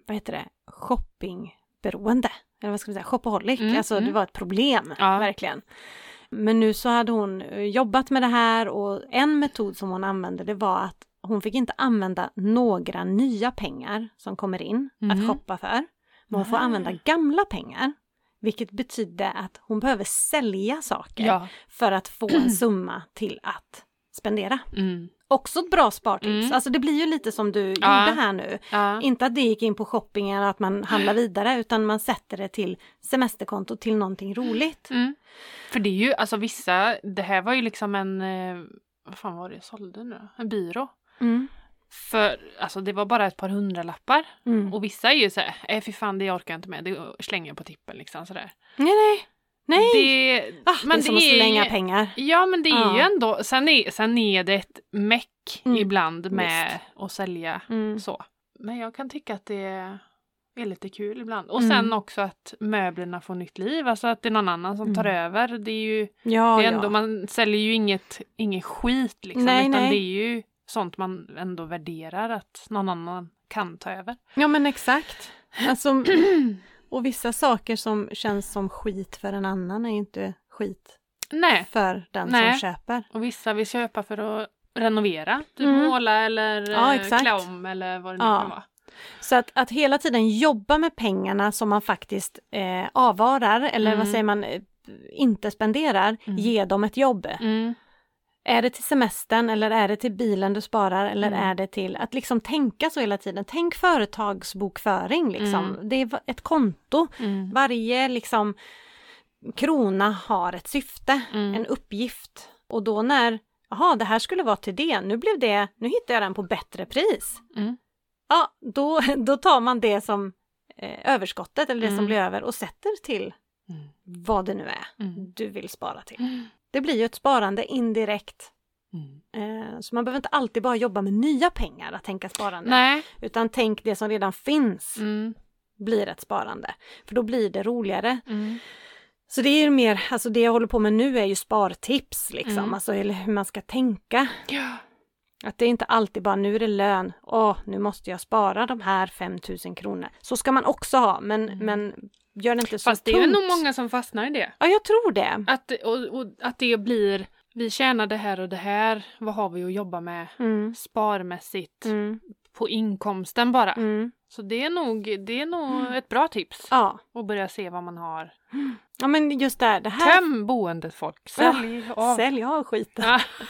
vad heter det, shoppingberoende. Eller vad ska vi säga, shopaholic. Mm, Alltså det mm. var ett problem, Ja. verkligen. Men nu så hade hon eh, jobbat med det här och en metod som hon använde det var att hon fick inte använda några nya pengar som kommer in Mhm. att shoppa för. Men hon får Ah. använda gamla pengar. Vilket betyder att hon behöver sälja saker Ja. för att få *clears throat* en summa till att spendera. Mm. Också ett bra spartips. Mm. Alltså det blir ju lite som du Ja. gjorde här nu. Ja. Inte att det gick in på shopping eller att man handlar vidare utan man sätter det till semesterkonto till någonting roligt. Mm. För det är ju, alltså vissa, det här var ju liksom en, eh, vad fan var det jag sålde nu En byrå. Mm. För alltså det var bara ett par hundralappar. Mm. Och vissa är ju såhär, äh, fy fan det orkar jag inte med, det slänger jag på tippen liksom sådär. Nej, nej, nej! Det, ah, det är som att slänga ju- pengar. Ja men det är Ja. ju ändå, sen är, sen är det ett meck Mm, ibland med att sälja Mm. så. Men jag kan tycka att det är lite kul ibland. Och Mm. sen också att möblerna får nytt liv, alltså att det är någon annan som tar över. Det är ju Mm. Ja, det är ändå, ja. Man säljer ju inget, ingen skit liksom, Nej, utan nej. det är ju sånt man ändå värderar att någon annan kan ta *clears throat* över. ja, men exakt. Alltså, *clears throat* och vissa saker som känns som skit för en annan är ju inte skit Nej, för den Nej. som köper. och vissa vill köpa för att renovera, typ Mm. måla eller Ja, eh, exakt. klä om eller vad det nu Ja. kan vara. Så att, att hela tiden jobba med pengarna som man faktiskt eh, avvarar, eller vad Mm. säger man, eh, inte spenderar, Mm. ge dem ett jobb. Mm. Är det till semestern eller är det till bilen du sparar eller Mm. är det till att liksom tänka så hela tiden. Tänk företagsbokföring liksom. Mm. Det är va- ett konto. Mm. Varje liksom krona har ett syfte, Mm. en uppgift. Och då när, jaha det här skulle vara till det, nu blev det, nu hittar jag den på bättre pris. Mm. Ja, då, då tar man det som eh, överskottet eller det som Mm. blir över och sätter till Mm. vad det nu är Mm. du vill spara till. Mm. Det blir ju ett sparande indirekt. Mm. Eh, så man behöver inte alltid bara jobba med nya pengar att tänka sparande. Nej. Utan tänk det som redan finns Mm. blir ett sparande. För då blir det roligare. Mm. Så det är ju mer, alltså det jag håller på med nu är ju spartips liksom. Mm. Alltså eller hur man ska tänka. Ja. Att det är inte alltid bara nu är det lön, åh nu måste jag spara de här 5000 kronor. Så ska man också ha men, Mm. men gör det inte så Fast det är ju tungt. nog många som fastnar i det. Ja jag tror det. Att, och, och, att det blir, vi tjänar det här och det här, vad har vi att jobba med Mm. sparmässigt Mm. på inkomsten bara. Mm. Så det är nog, det är nog ett bra tips Ja. att börja se vad man har. ja men just det här, det här Töm boendet folk, sälj av. Sälj av skiten. Ja. *laughs*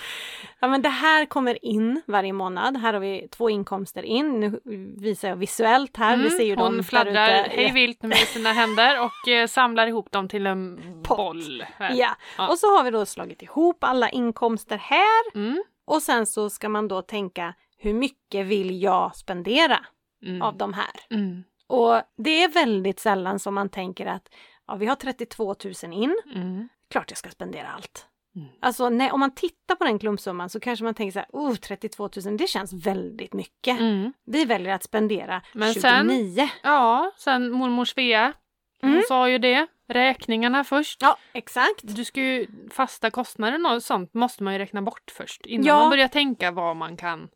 Ja men det här kommer in varje månad. Här har vi två inkomster in. Nu visar jag visuellt här. Mm, vi ser ju dem hon där fladdrar ute. hej vilt med sina händer och eh, samlar ihop dem till en Pott. boll. Här. Ja. Ja. Och så har vi då slagit ihop alla inkomster här Mm, och sen så ska man då tänka hur mycket vill jag spendera mm, av de här? mm, Och det är väldigt sällan som man tänker att ja, vi har 32 000 in, mm, klart jag ska spendera allt. Mm. Alltså nej, om man tittar på den klumpsumman så kanske man tänker så här, oh 32 000 det känns väldigt mycket. mm. Vi väljer att spendera Men sen- 29. Ja, sen mormor Svea, hon Mm. sa ju det. Räkningarna först. Ja, exakt. Du ska ju, fasta kostnader och sånt måste man ju räkna bort först innan Ja. man börjar tänka vad man kan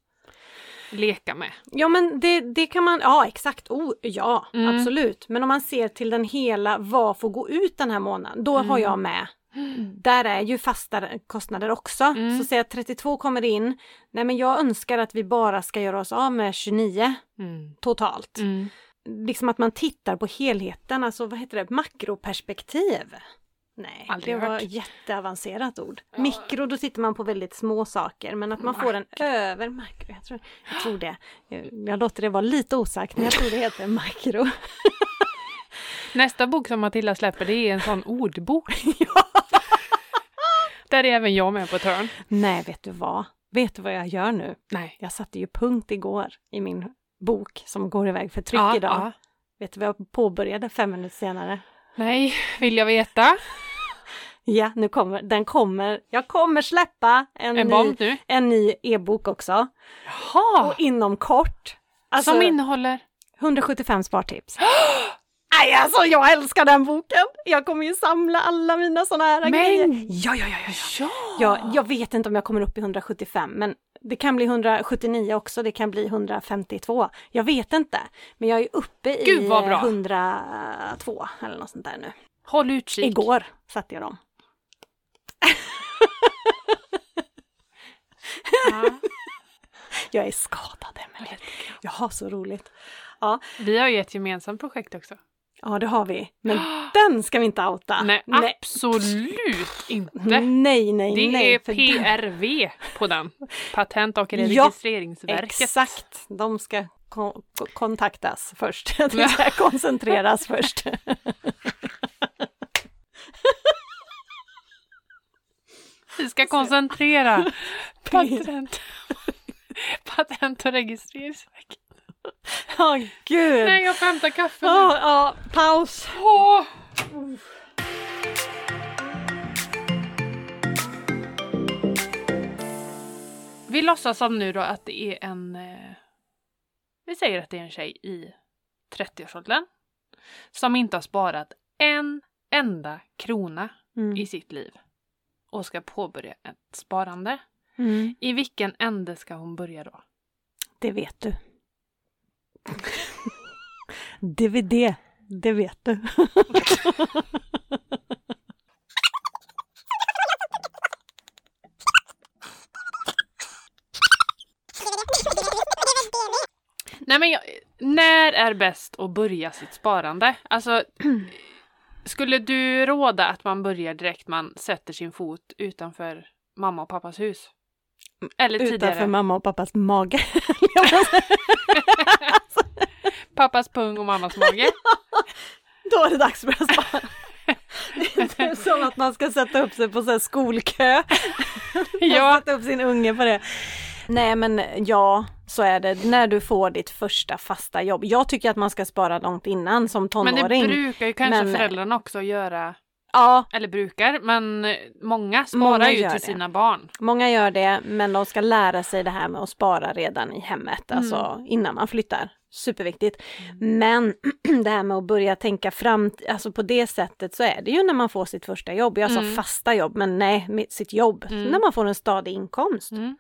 leka med. Ja men det, det kan man, ja exakt, oh, ja Mm. absolut. Men om man ser till den hela, vad får gå ut den här månaden? Då har Mm. jag med, där är ju fasta kostnader också. Mm. Så säg att 32 kommer in, nej men jag önskar att vi bara ska göra oss av med 29 Mm. totalt. Mm. Liksom att man tittar på helheten, alltså vad heter det, makroperspektiv. Nej, Aldrig det var hört. ett jätteavancerat ord. Ja. Mikro, då tittar man på väldigt små saker, men att man får en över makro. Jag tror, jag tror det. Jag- Jag låter det vara lite osagt, men jag tror det *gasps* heter makro. Nästa bok som Matilda släpper det är en sån *laughs* ordbok. Där är även jag med på ett hörn. Nej, vet du vad? Vet du vad jag gör nu? Nej. Jag satte ju punkt igår i min bok som går iväg för tryck Ja, idag. ja. Vet du vad jag påbörjade fem minuter senare? Nej, vill jag veta. Ja, nu kommer den kommer. Jag kommer släppa en, Ah. En ny bomb nu. en ny e-bok också. Jaha! Och inom kort. Alltså Som innehåller... 175 spartips. *gasps* Nej, alltså jag älskar den boken. Jag kommer ju samla alla mina såna här Men- grejer. Ja, ja, ja, ja. ja. Ja! Jag, jag vet inte om jag kommer upp i 175, men det kan bli 179 också, det kan bli 152. Jag vet inte, men jag är ju uppe i Gud, vad bra. 102 eller något sånt där nu. Håll utkik. Igår satte jag dem. *laughs* Ja. Jag är skadad, Emelie. Jag har så roligt. Vi har ju ett gemensamt projekt också. Ja, det har vi. *gasps* Men den ska vi inte outa. Nej, absolut inte. Nej, nej, Det Mm, nej. är för den- PRV på *laughs* den. Patent och Ja, registreringsverket. Exakt, de ska kon- ko- kontaktas först. *laughs* De ska *laughs* koncentreras först. Vi ska *laughs* koncentrera patent, *laughs* patent och registreringsverket. Ja, gud. Nej, jag får hämta kaffe nu. Ja, ja, paus. Åh! Vi låtsas som nu då att det är en... eh, Vi säger att det är en tjej i 30-årsåldern som inte har sparat en enda krona Mm. i sitt liv och ska påbörja ett sparande. Mm. I vilken ände ska hon börja då? Det vet du. DVD, det vet du. Nej men jag, när är bäst att börja sitt sparande? *clears throat* Alltså, skulle du råda att man börjar direkt man sätter sin fot utanför mamma och pappas hus? Eller Mm, Utanför tidigare, mamma och pappas mage. Jag måste- pappas pung och mammas *laughs* mage? Då är det dags för att spara. Det är *laughs* typ som att man ska sätta upp sig på så här skolkö. ja, Sätta upp sin unge på det. Nej men ja, så är det. När du får ditt första fasta jobb. Jag tycker att man ska spara långt innan som men det tonåring. brukar ju kanske Men- eh, föräldrarna också göra, Ja, eller brukar, men eh, många sparar Många ju gör till det. sina barn. Många gör det, men de ska lära sig det här med att spara redan i hemmet, Mm. alltså innan man flyttar. Superviktigt. Men *clears throat* det här med att börja tänka fram, alltså på det sättet så är det ju när man får sitt första jobb. Jag sa Mm. fasta jobb, men nej, med sitt jobb. Mm. När man får en stadig inkomst. Mm.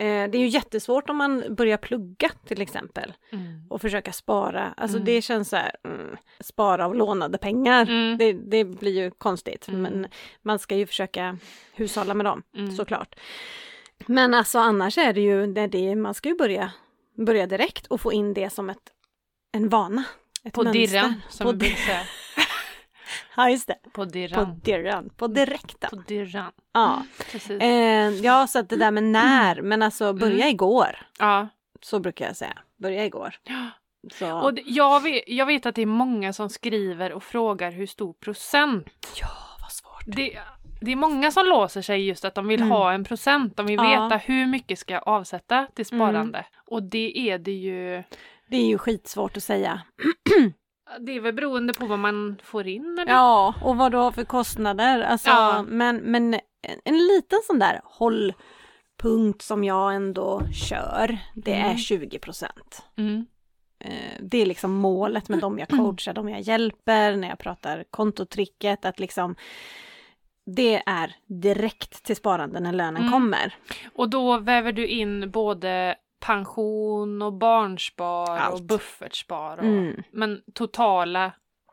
Eh, det är ju jättesvårt om man börjar plugga till exempel Mm. och försöka spara. Alltså Mm. det känns så här, mm, spara av lånade pengar. Mm. Det, det blir ju konstigt, Mm. men man ska ju försöka hushålla med dem Mm. såklart. Men alltså annars är det ju, det är det, man ska ju börja, börja direkt och få in det som ett, en vana. Ett På mönster. dirren, som på, vi brukar säga. *laughs* ja, just det. På *laughs* På dirren. dirren, på direkten. Mm. På dirren. Ja. Precis. Eh, ja, så att det där med Mm. när, men alltså börja igår. Ja. Så brukar jag säga, börja igår. Så. Och det- jag vet, jag vet att det är många som skriver och frågar hur stor procent. ja, vad svårt. Det, det är många som låser sig just att de vill Mm. ha en procent. De vill Ja. veta hur mycket ska jag avsätta till Mm. sparande. Och det är det ju. Det är ju skitsvårt att säga. Det är väl beroende på vad man får in eller? Ja, *laughs* och vad du har för kostnader. Alltså, Ja. men, men en- en liten sån där hållpunkt som jag ändå kör, det är Mm. 20 procent. Mm. Det är liksom målet med dem jag coachar, de jag hjälper, när jag pratar kontotricket, att liksom det är direkt till sparande när lönen Mm. kommer. Och då väver du in både pension och barnspar och Allt. buffertspar. Och, Mm. Men totala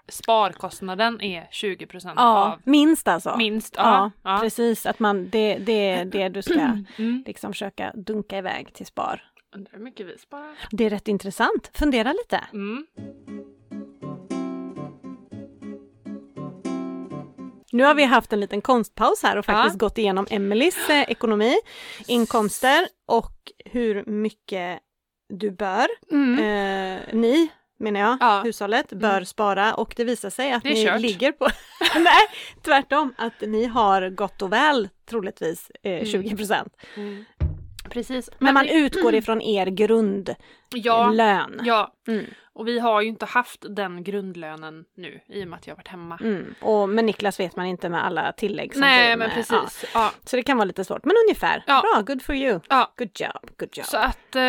sparkostnaden är 20 procent Ja, av minst alltså. minst. Ja, Ja, ja. precis. Att man, det, *clears throat* det är det du ska Mm. liksom försöka dunka iväg till spar. Undrar hur mycket vi sparar. Det är rätt intressant. Fundera lite. Mm. Nu har vi haft en liten konstpaus här och Ja. faktiskt gått igenom Emelies eh, ekonomi, inkomster och hur mycket du bör, Mm. eh, ni menar jag, Ja. Mm. hushållet, bör spara och det visar sig att Det är ni kört. ligger på, *laughs* nej tvärtom, att ni har gott och väl troligtvis eh, Mm. 20 procent. Eh, Precis. Men man vi- utgår ifrån er grundlön. Mm. ja, ja, Mm. och vi har ju inte haft den grundlönen nu i och med att jag har varit hemma. Mm. Och med Niklas vet man inte med alla tillägg som Nej, blir men med- ja. precis. Ja. Så det kan vara lite svårt, men ungefär. Ja. Bra, good for you. Ja. Good job, good job. Så att, eh,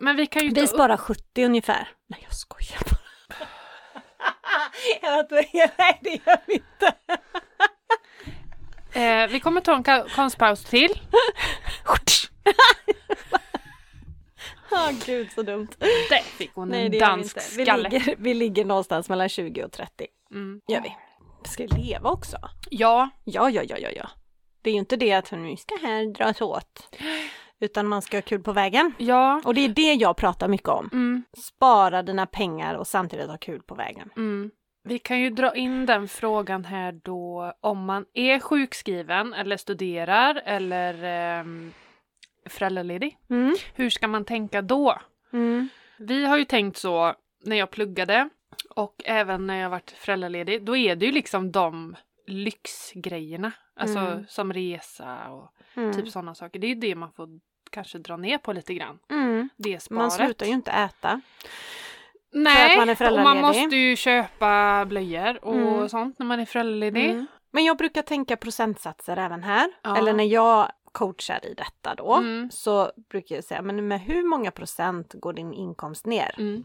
men vi kan ju ta Vi upp... sparar 70 ungefär. Nej, jag skojar bara. *laughs* Jag tror- Nej, det gör vi inte. Eh, vi kommer ta en ka- konstpaus till. Åh gud så dumt. Där fick hon Nej, det en gör vi dansk inte. Vi skalle. ligger, vi ligger någonstans mellan 20 och 30. Mm. Gör vi. Ska vi leva också? Ja, Ja, ja, ja, ja, ja. Det är ju inte det att nu ska här dras åt. Utan man ska ha kul på vägen. ja. Och det är det jag pratar mycket om. Mm, Spara dina pengar och samtidigt ha kul på vägen. mm. Vi kan ju dra in den frågan här då om man är sjukskriven eller studerar eller ehm, föräldraledig. Mm. Hur ska man tänka då? Mm. Vi har ju tänkt så när jag pluggade och även när jag varit föräldraledig. Då är det ju liksom de lyxgrejerna. Alltså Mm. som resa och Mm. typ sådana saker. Det är ju det man får kanske dra ner på lite grann. Mm. Det sparet. Man slutar ju inte äta. Nej, att man är och man föräldraledig. måste ju köpa blöjor och Mm. sånt när man är föräldraledig. Mm. Men jag brukar tänka procentsatser även här. Ja. Eller när jag coachar i detta då. Mm. Så brukar jag säga, men med hur många procent går din inkomst ner? Mm.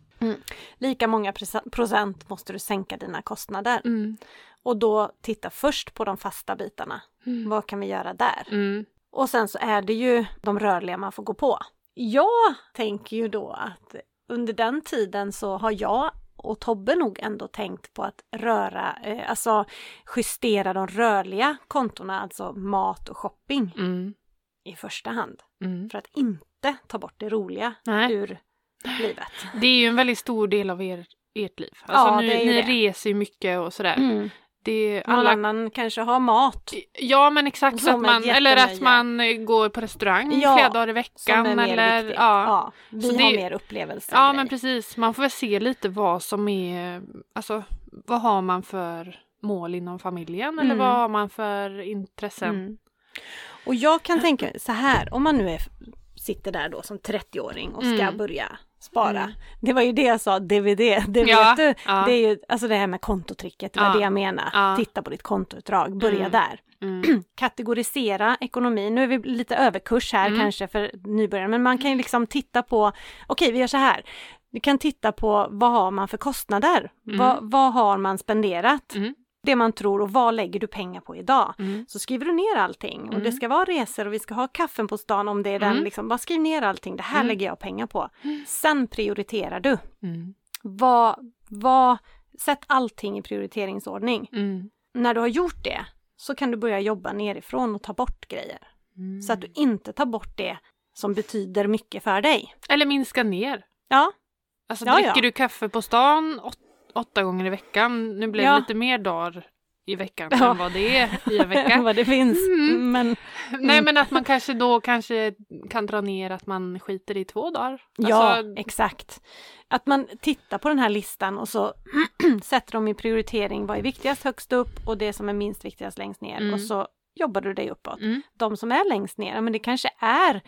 Lika många presa- procent måste du sänka dina kostnader. Mm. Och då titta först på de fasta bitarna. Mm. Vad kan vi göra där? Mm. Och sen så är det ju de rörliga man får gå på. Jag tänker ju då att under den tiden så har jag och Tobbe nog ändå tänkt på att röra, eh, alltså justera de rörliga kontona, alltså mat och shopping Mm. i första hand. Mm. För att inte ta bort det roliga Nej, ur livet. det är ju en väldigt stor del av er, ert liv. Alltså Ja, nu, det är ju ni det. reser ju mycket och sådär. Det, Någon Mm. alla annan kanske har mat Ja men exakt, så Som att man, är eller att jättenöje. man eh, går på restaurang Ja, flera dagar i som veckan. är mer eller, viktigt. Ja, vi Så det har är- mer upplevelser. ja och men grejer. precis, man får väl se lite vad som är, alltså vad har man för mål inom familjen eller Mm. vad har man för intressen? Mm. Och jag kan tänka så här, om man nu är, sitter där då som 30-åring och ska Mm. börja spara. Mm. Det var ju det jag sa, DVD, *laughs* det Ja, vet du. ja. Det är ju alltså det här med kontotricket, det var Ja. det jag menade. Ja. Titta på ditt kontoutdrag, börja Mm. där. Mm. Kategorisera ekonomi, nu är vi lite överkurs här Mm. kanske för nybörjare, men man kan ju liksom titta på, okej vi gör så här, vi kan titta på vad har man för kostnader? Mm. Vad, vad har man spenderat? Mm. Det man tror och vad lägger du pengar på idag? Mm. Så skriver du ner allting och det Mm. ska vara resor och vi ska ha kaffen på stan om det är den Mm. liksom. Bara skriv ner allting, det här Mm. lägger jag pengar på. Sen prioriterar du. Mm. Vad, vad, sätt allting i prioriteringsordning. Mm. När du har gjort det så kan du börja jobba nerifrån och ta bort grejer. Mm. Så att du inte tar bort det som betyder mycket för dig. Eller minska ner. Ja, Alltså Ja, ja. dricker du kaffe på stan åt, åtta gånger i veckan, nu blir det Ja. lite mer dagar i veckan Ja. än vad det är i en *laughs* vecka. vad det finns. Mm. Men Nej men att man kanske då kanske kan dra ner att man skiter i två dagar. Ja, Alltså, exakt. Att man tittar på den här listan och så *clears throat* sätter de i prioritering vad är viktigast högst upp och det som är minst viktigast längst ner Mm. och så jobbar du dig uppåt. mm, De som är längst ner, ja, men det kanske är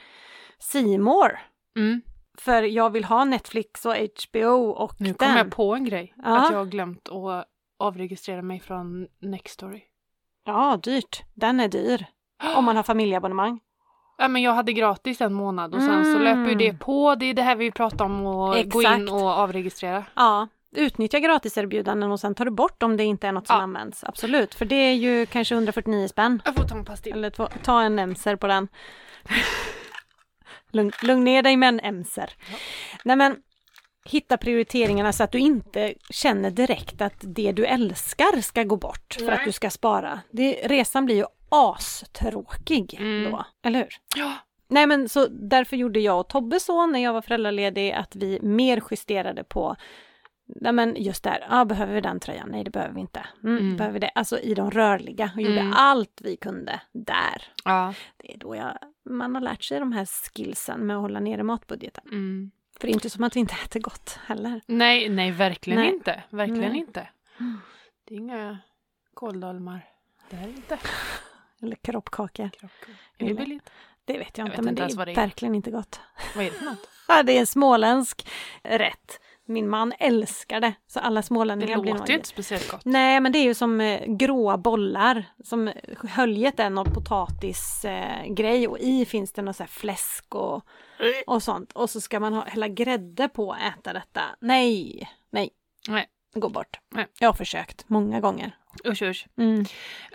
Simor mm. för jag vill ha Netflix och HBO och Nu kom den. jag på en grej. Ja. Att jag har glömt att avregistrera mig från Nextory. Ja, dyrt. Den *gasps* är dyr. Om man har familjeabonnemang. Ja, men jag hade gratis en månad och sen så Mm. löper ju det på. Det är det här vi pratar om att gå Exakt. in och avregistrera. Ja, utnyttja gratiserbjudanden och sen tar du bort om det inte är något som Ja. används. Absolut, för det är ju kanske 149 spänn. Jag får ta en pastill. Eller två, ta en emser på den. lugn, lugn ner dig med en emser. Nej men, hitta prioriteringarna så att du inte känner direkt att det du älskar ska gå bort för Nej. att du ska spara. Det, resan blir ju astråkig Mm. då, eller hur? Ja. Nej men så därför gjorde jag och Tobbe så när jag var föräldraledig att vi mer justerade på Nej men just där, ah, behöver vi den tröjan? Nej det behöver vi inte. Mm, Mm. Behöver vi det? Alltså i de rörliga och gjorde Mm. allt vi kunde där. ja. Det är då jag, man har lärt sig de här skillsen med att hålla nere matbudgeten. Mm. För det är inte som att vi inte äter gott heller. Nej, nej, verkligen Nej. inte. Verkligen Nej. inte. Det är inga kåldolmar. Det här är inte Eller kroppkaka, krockor. Är det Eller- billigt? det vet jag inte vet men inte det ens är vad det är. verkligen inte gott. Vad är det för något? Ja, det är en småländsk rätt. Min man älskar det, så alla Det smålänningar blir låter ju nöjda. inte speciellt gott. Nej, men det är ju som eh, gråa bollar som höljet är någon potatisgrej eh, grej och i finns det något så här fläsk och, och sånt. Och så ska man ha, hälla grädde på och äta detta. Nej, nej. Nej. gå bort. Nej. Jag har försökt många gånger. Usch, usch. Mm.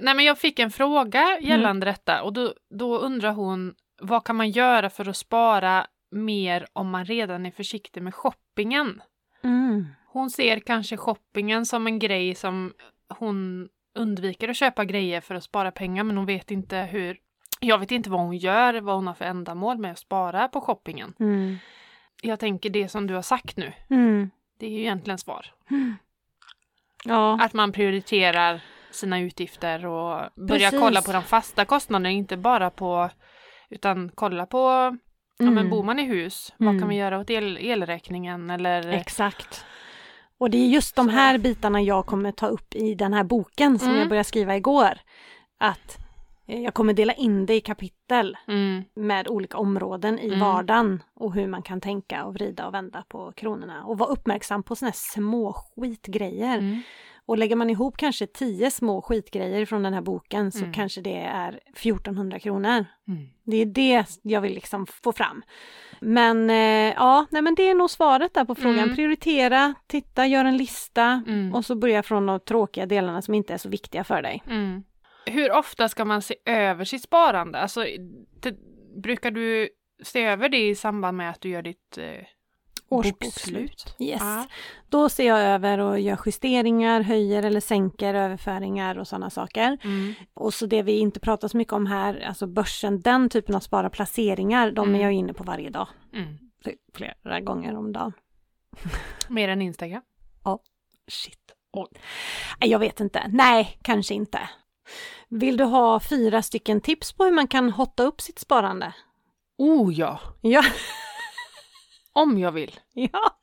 Nej, men jag fick en fråga gällande detta och då, då undrar hon vad kan man göra för att spara mer om man redan är försiktig med shoppingen? Mm. Hon ser kanske shoppingen som en grej som hon undviker att köpa grejer för att spara pengar men hon vet inte hur jag vet inte vad hon gör, vad hon har för ändamål med att spara på shoppingen. Mm. Jag tänker det som du har sagt nu, Mm. det är ju egentligen svar. Ja. Att man prioriterar sina utgifter och börjar Precis. kolla på de fasta kostnaderna, inte bara på utan kolla på, ja men Mm. bor man i hus, vad Mm. kan man göra åt el- elräkningen eller Exakt. Och det är just de här bitarna jag kommer ta upp i den här boken som Mm. jag började skriva igår. Att eh, jag kommer dela in det i kapitel mm, med olika områden i Mm. vardagen och hur man kan tänka och vrida och vända på kronorna och vara uppmärksam på sådana här små skitgrejer. mm, Och lägger man ihop kanske tio små skitgrejer från den här boken så Mm. kanske det är 1400 kronor. mm. Det är det jag vill liksom få fram. Men eh, ja, nej men det är nog svaret där på frågan. Mm. Prioritera, titta, gör en lista Mm. och så börja från de tråkiga delarna som inte är så viktiga för dig. Mm. Hur ofta ska man se över sitt sparande? Alltså, det, brukar du se över det i samband med att du gör ditt eh, bokslut? Yes. Ja. Då ser jag över och gör justeringar, höjer eller sänker överföringar och sådana saker. Mm. Och så det vi inte pratar så mycket om här, alltså börsen, den typen av spara placeringar, de Mm. är jag inne på varje dag. Mm. Typ flera gånger om dagen. Mer än Instagram? Shit. Oj. Nej, Jag vet inte. Nej, kanske inte. Vill du ha fyra stycken tips på hur man kan hotta upp sitt sparande? Oh ja! Ja, *laughs* Om jag vill. ja.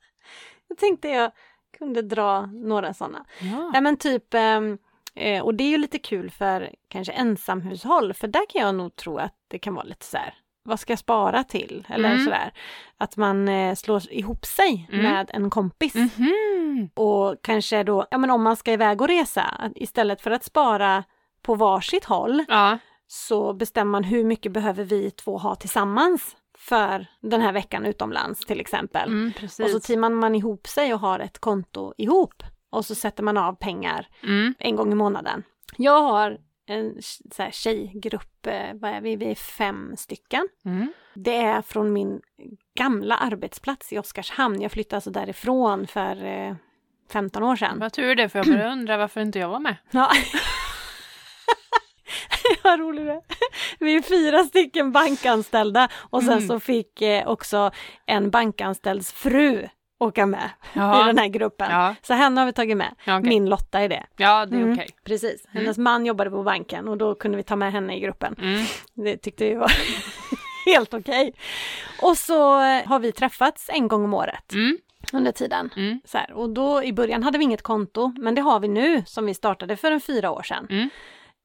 Jag tänkte jag kunde dra några sådana. Ja. Nej men typ, ehm, eh, och det är ju lite kul för kanske ensamhushåll, för där kan jag nog tro att det kan vara lite så här, vad ska jag spara till? Eller Mm. sådär. Att man eh, slår ihop sig Mm. med en kompis. Mhm. Och kanske då, ja men om man ska iväg och resa, att istället för att spara på varsitt håll Ja. så bestämmer man hur mycket behöver vi två ha tillsammans för den här veckan utomlands till exempel. Mm, precis. och så teamar man ihop sig och har ett konto ihop och så sätter man av pengar mm. en gång i månaden. Jag har en så här, tjejgrupp, eh, vad är vi, vi är fem stycken. Mm. Det är från min gamla arbetsplats i Oskarshamn. Jag flyttade alltså därifrån för eh, 15 år sedan. Vad tur det, för jag började undra varför inte jag var med. Ja. *laughs* Vad rolig du är. Vi är fyra stycken bankanställda och sen Mm. så fick eh, också en bankanställds fru åka med i den här *laughs* gruppen. Ja, Så henne har vi tagit med. ja, okej. Min Lotta är det. ja det är Mm. okej. Precis. Mm. Hennes man jobbade på banken och då kunde vi ta med henne i gruppen. Mm. Det tyckte vi var *laughs* helt okej. Och så eh, har vi träffats en gång om året Mm. under tiden. Mm. Så här, och då i början hade vi inget konto, men det har vi nu som vi startade för en fyra år sedan. Mm.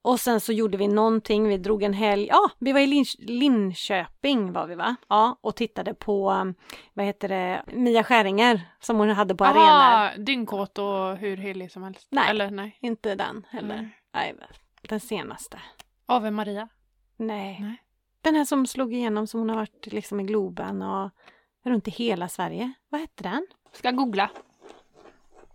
Och sen så gjorde vi någonting, vi drog en helg, ja vi var i Lin- Linköping var vi va? Ja, och tittade på, um, vad heter det, Mia Skäringer som hon hade på arenor. Aha, dyngkåt och hur helig som helst. Nej. Eller nej. Inte den heller. Mm. Nej, den senaste. Ave Maria. Nej. Nej. Den här som slog igenom som hon har varit liksom i Globen och runt i hela Sverige. Vad hette den? Ska googla.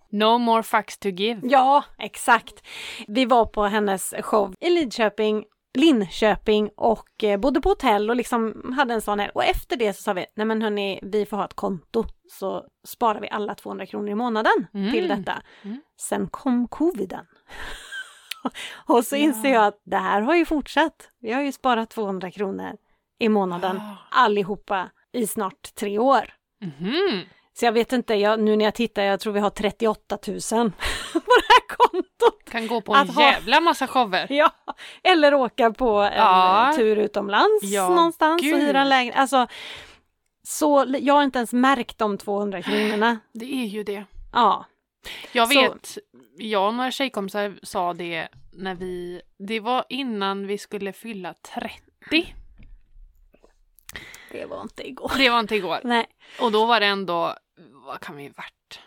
No more fucks to give. Ja, exakt. Vi var på hennes show i Lidköping, Linköping och eh, bodde på hotell och liksom hade en sån här. Och efter det så sa vi, nej men hörni, vi får ha ett konto så sparar vi alla 200 kronor i månaden Mm. till detta. Mm. Sen kom coviden. *laughs* och så Ja. inser jag att det här har ju fortsatt. Vi har ju sparat 200 kronor i månaden Ah. allihopa i snart tre år. Mhm. Så jag vet inte, jag, nu när jag tittar, jag tror vi har 38 000 *laughs* på det här kontot. *laughs* Kan gå på en Att ha- jävla massa shower. Ja, eller åka på en Ja. eh, tur utomlands Ja, någonstans och gud. hyra en lägenhet. Alltså, så, li- jag har inte ens märkt de *gasps* 200 kronorna. Det är ju det. Ja. Jag Så- vet, jag och några tjejkompisar sa det när vi, det var innan vi skulle fylla 30. Det var inte igår. Det var inte igår. Nej. Och då var det ändå, vad kan vi varit?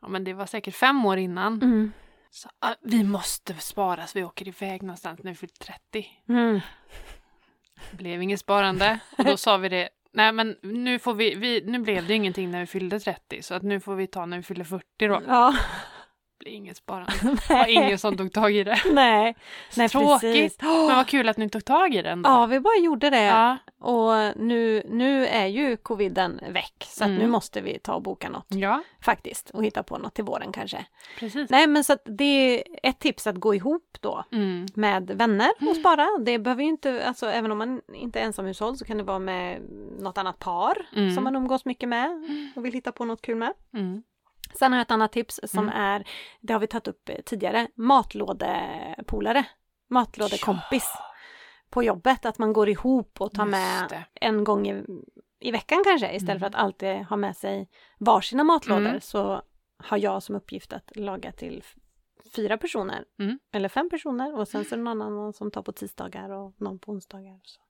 Ja men det var säkert fem år innan. Mm. Så, ah, vi måste spara så vi åker iväg någonstans när vi fyllt 30. Mm. Det blev inget sparande. Och då sa vi det, nej men nu får vi, vi, nu blev det ju ingenting när vi fyllde 30 så att nu får vi ta när vi fyller 40 då. Ja. blir inget *laughs* sparande. Det var ingen som tog tag i det. Nej, nej Tråkigt, *gasps* precis. men vad kul att ni tog tag i den. då. Ja, vi bara gjorde det. Ja. Och nu, nu är ju coviden väck, så att Mm. nu måste vi ta och boka något ja, faktiskt och hitta på något till våren kanske. precis. Nej, men så att det är ett tips att gå ihop då Mm. med vänner och spara. Det behöver ju inte, alltså även om man inte är ensamhushåll så kan det vara med något annat par Mm. som man umgås mycket med och vill hitta på något kul med. Mm. Sen har jag ett annat tips som Mm. är, det har vi tagit upp eh, tidigare, matlådepolare. Matlådekompis på jobbet, att man går ihop och tar Just med det. en gång i, i veckan kanske istället för att alltid ha med sig varsina matlådor Mm. så har jag som uppgift att laga till f- fyra personer Mm. eller fem personer och sen så är *gasps* det någon annan som tar på tisdagar och någon på onsdagar. Så.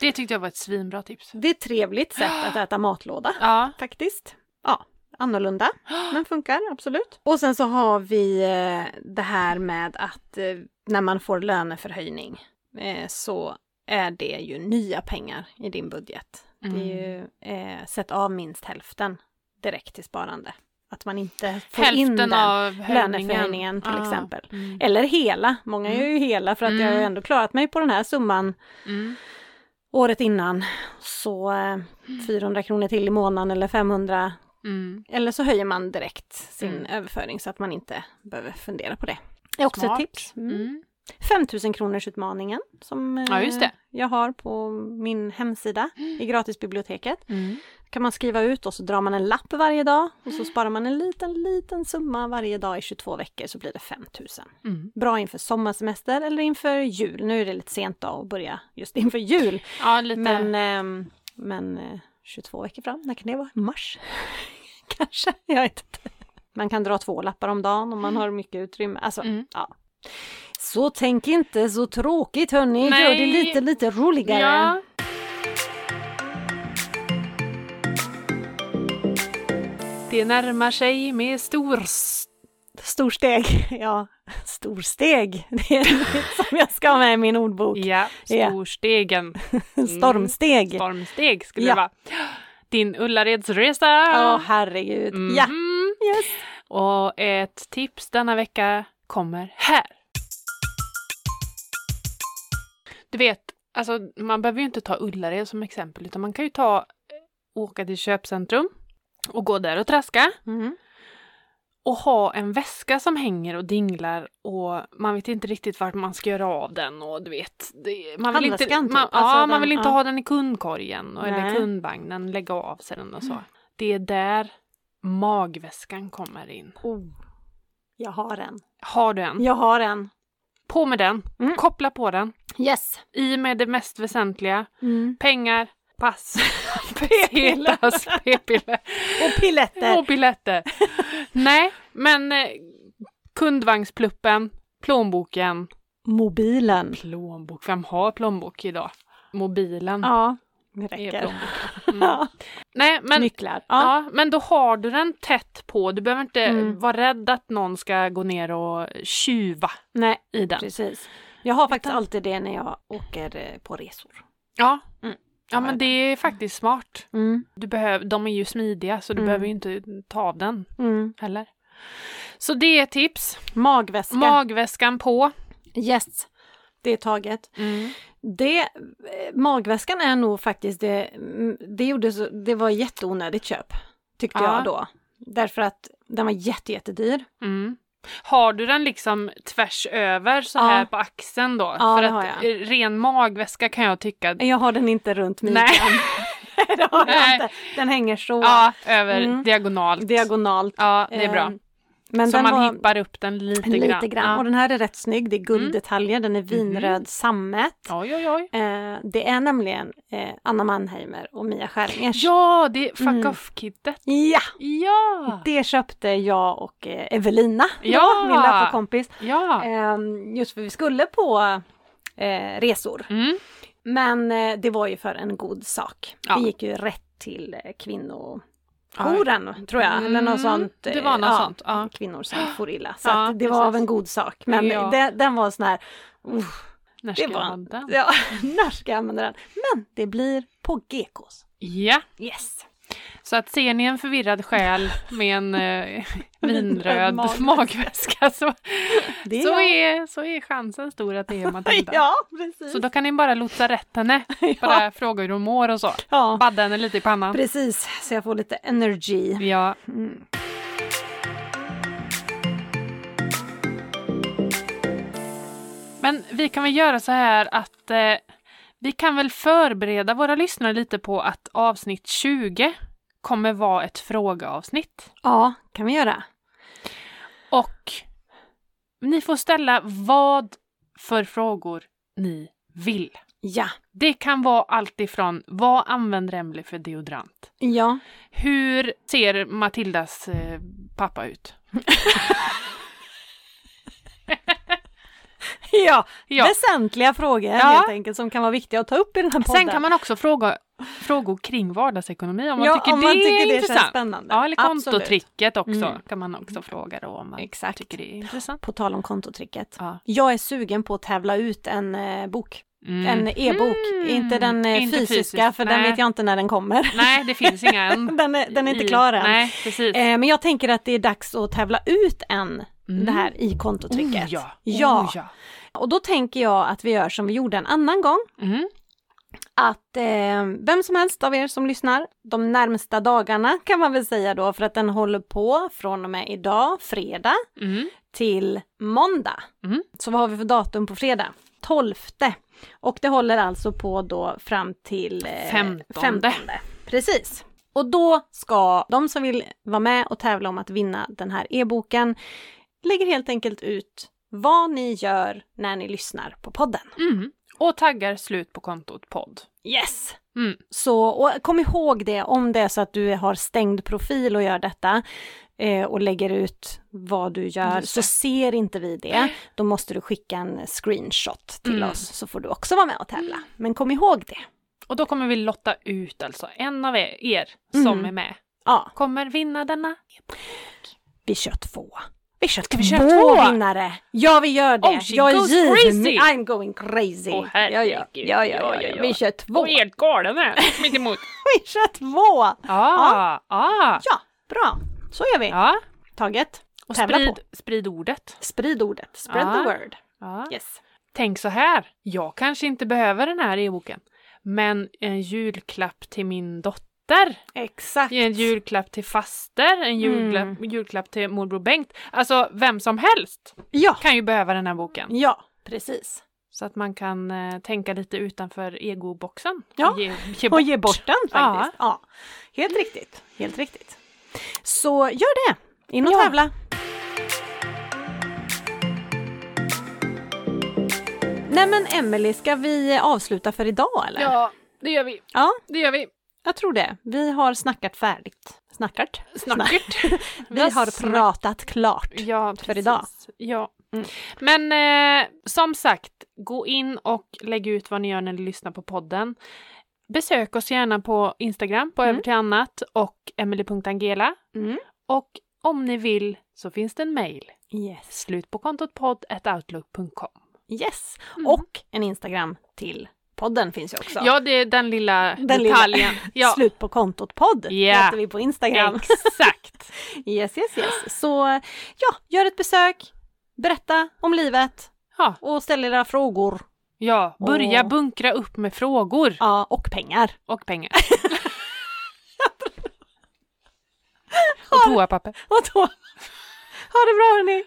Det tyckte jag var ett svinbra tips. Det är ett trevligt sätt *gasps* att äta matlåda Ja. faktiskt. Ja, *gasps* annorlunda, men funkar absolut. Och sen så har vi eh, det här med att eh, när man får löneförhöjning eh, så är det ju nya pengar i din budget. Mm. Det är ju eh, sätt av minst hälften direkt till sparande. Att man inte får in Hälften den. av höjningen. löneförhöjningen till Ah. exempel. Mm. Eller hela, många gör ju hela för att jag har ju Mm. ändå klarat mig på den här summan Mm. året innan. Så eh, 400 kronor till i månaden eller 500 Mm. eller så höjer man direkt sin Mm. överföring så att man inte behöver fundera på det. Det är också Smart. ett tips. Mm. Mm. 5000 kronors utmaningen som eh, Ja, just det. jag har på min hemsida i gratisbiblioteket. Mm. kan man skriva ut och så drar man en lapp varje dag och så sparar man en liten, liten summa varje dag i 22 veckor så blir det 5000. Mm. Bra inför sommarsemester eller inför jul. Nu är det lite sent då att börja just inför jul. Ja, lite. Men, ehm, men eh, 22 veckor fram, när kan det vara? Mars? *laughs* Kanske, jag vet inte. Man kan dra två lappar om dagen om man har mycket utrymme. Alltså, Mm. ja. Så tänk inte så tråkigt hörni, Nej. gör det lite, lite roligare. ja. Det närmar sig med stors... Storsteg, *laughs* ja, storsteg, *laughs* det är något som jag ska ha med i min ordbok. Ja, Ja. storstegen. Mm. Stormsteg. Stormsteg skulle Ja. det vara. Din Ullaredsresa! Åh herregud, ja. Mhm. Yes. Och ett tips denna vecka kommer här. Du vet, alltså, man behöver ju inte ta Ullared som exempel utan man kan ju ta åka till köpcentrum och gå där och traska Mm. och ha en väska som hänger och dinglar och man vet inte riktigt vart man ska göra av den och du vet. Det, man, vill inte, Handväskan typ, man, alltså ja, den- man vill inte ja. ha den i kundkorgen och, eller Nej. Mm. kundvagnen, lägga av sig den och så. Det är där magväskan kommer in. Oh. Jag har en. Har du en? Jag har en. På med den, Mm. koppla på den. Yes. I med det mest väsentliga. Mm. Pengar, *laughs* pass, petas, *laughs* p-piller Och piletter. och *laughs* biljetter. Nej, men eh, kundvagnspluppen, plånboken. Mobilen. Plånbok, vem har plånbok idag? Mobilen Ja, det är *laughs* räcker. plånbok. Mm. Nej, men, ja. Nycklar. Ja. men då har du den tätt på. Du behöver inte Mm. vara rädd att någon ska gå ner och tjuva Nej, i den. precis. Jag har faktiskt alltid det när jag åker eh, på resor. Ja. Mm. ja, men det är faktiskt smart. Mm. Du behöv, de är ju smidiga så du Mm. behöver ju inte ta av den heller. Så det är tips. Magväska. Magväskan på. yes. Det är taget. Mm. Det, eh, magväskan är nog faktiskt det, mm, det, gjorde så, det var jätteonödigt köp tyckte Ja. jag då. Därför att den var jätte, jättedyr. Mm. Har du den liksom tvärs över så Ja. här på axeln då? Ja, För det att har jag. eh, ren magväska kan jag tycka. Jag har den inte runt midjan. Nej. det har *laughs* jag Nej. inte. Den hänger så Ja, över Mm. diagonalt. diagonalt. ja, det är bra. Eh, Men så den man var, hippar upp den lite, Lite grann. grann. Mm. Mhm. Och den här är rätt snygg. Det är gulddetaljer, den är vinröd sammet. Ja. Oj, oj, oj. Eh, det är nämligen eh, Anna Mannheimer och Mia Skäringers. Ja, det är fuck Mm. off-kittet. Ja, Ja! Det köpte jag och eh, Evelina, Ja! då, min löparkompis. Ja. Eh, just för vi skulle på eh, resor. Mm. Men eh, det var ju för en god sak. Ja. Det gick ju rätt till eh, kvinnojouren, tror jag. Eller Mm, något sånt. eh, det var något ja, sånt, ja. Kvinnor som for illa. Så Ja, att det var precis. av en god sak. Men Ja. det, den var sån här... uff, När Det ska jag var- ha den? Ja, *laughs* när ska jag använda den? Men det blir på GKs. Ja. Yes. Så att ser ni en förvirrad själ med en eh, *laughs* vinröd Magväska. magväska så, Det så, jag. är, så är chansen stor att det är Matilda. *laughs* Ja, precis. Så då kan ni bara lotsa rätt *laughs* henne. Bara fråga hur hon mår och så. ja, Badda henne lite i pannan. precis. Så jag får lite energy. Ja, Mm. men vi kan väl göra så här att eh, vi kan väl förbereda våra lyssnare lite på att avsnitt 20 kommer vara ett frågeavsnitt. Ja, kan vi göra. Och ni får ställa vad för frågor ni vill. Ja. Det kan vara allt ifrån vad använder Emily för deodorant? Ja. Hur ser Matildas eh, pappa ut? Ja, *laughs* Ja. väsentliga frågor Ja. helt enkelt som kan vara viktiga att ta upp i den här podden. Sen kan man också fråga frågor kring vardagsekonomi om man ja, tycker om det man är tycker det känns intressant. spännande. Ja, eller Absolut. kontotricket också Mm. kan man också fråga då om man Exakt. tycker det är intressant. På tal om kontotricket. Ja. Jag är sugen på att tävla ut en eh, bok. Mm. En e-bok. Mm. Inte den eh, Inte fysiska fysisk, för den nej. vet jag inte när den kommer. Nej, det finns inga än. *laughs* den, är, den är inte i- klar än. Nej, precis. Eh, men jag tänker att det är dags att tävla ut en Mm. det här i kontotricket. Oh, ja. Ja. Oh, ja. Och då tänker jag att vi gör som vi gjorde en annan gång. Mm. att eh, vem som helst av er som lyssnar de närmsta dagarna kan man väl säga då för att den håller på från och med idag, fredag, Mm. till måndag. Mm. Så vad har vi för datum på fredag? 12. Och det håller alltså på då fram till eh, 15. 15. Precis. Och då ska de som vill vara med och tävla om att vinna den här e-boken lägger helt enkelt ut vad ni gör när ni lyssnar på podden. Mm. Och taggar slut på kontot podd. Yes! Mm. Så och kom ihåg det om det är så att du har stängd profil och gör detta eh, och lägger ut vad du gör Just så det. ser inte vi det. Då måste du skicka en screenshot till Mm. oss så får du också vara med och tävla. Men kom ihåg det. Och då kommer vi lotta ut alltså en av er, er som Mm. är med. Ja, Kommer vinna denna. vi kör två. Vi kör vi köra två? två vinnare! Ja, vi gör det. Oh, she jag goes är given. crazy. I'm going crazy. Åh, ja, ja. Ja, herregud. ja, Ja, ja, ja, Oh, ja. ja. Vi kör två. Och helt galen är mitt emot. *laughs* Vi kör två! *laughs* Ja, ja. Ja, bra. Så gör vi. ja. Taget. Och Tävla sprid, på. sprid ordet. Sprid ordet. Spread Ja. the word. Ja. Yes. Tänk så här, jag kanske inte behöver den här e-boken, men en julklapp till min dotter, Exakt. en julklapp till faster, en julklapp, Mm. julklapp till morbror Bengt. Alltså vem som helst Ja, kan ju behöva den här boken. ja, precis. Så att man kan eh, tänka lite utanför egoboxen. Ja, Ge, ge Och bort. ge bort den faktiskt. Ja. Helt riktigt, helt riktigt. Så gör det! In och Ja. tävla! Nej men Emelie, ska vi avsluta för idag eller? Ja, det gör vi. Ja, Det gör vi. jag tror det. Vi har snackat färdigt. Snackat? Snackert. *laughs* Vi har snack- pratat klart. Ja, för idag. precis. Ja. Mm. Men eh, som sagt, gå in och lägg ut vad ni gör när ni lyssnar på podden. Besök oss gärna på Instagram, på Mm. Över till annat och emily.angela. Mm. Och om ni vill så finns det en mejl. Yes. Slut på kontot podd.outlook.com. yes. Mm. Och en Instagram till podden finns ju också. Ja, det är den lilla Den lilla. *laughs* detaljen. Ja, Slut på kontot-podd Ja. heter vi på Instagram. exakt. *laughs* Yes, yes, yes. Så ja, gör ett besök, berätta om livet Ja, och ställ era frågor. ja. börja Åh. bunkra upp med frågor Ja, och pengar. *laughs* och pengar. och toapapper. Och då, ha det bra hörni!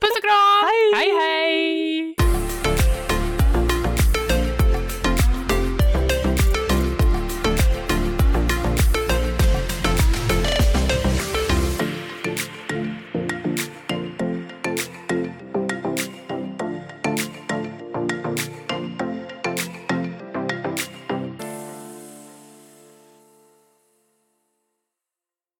Puss och kram! Hej! hej! hej.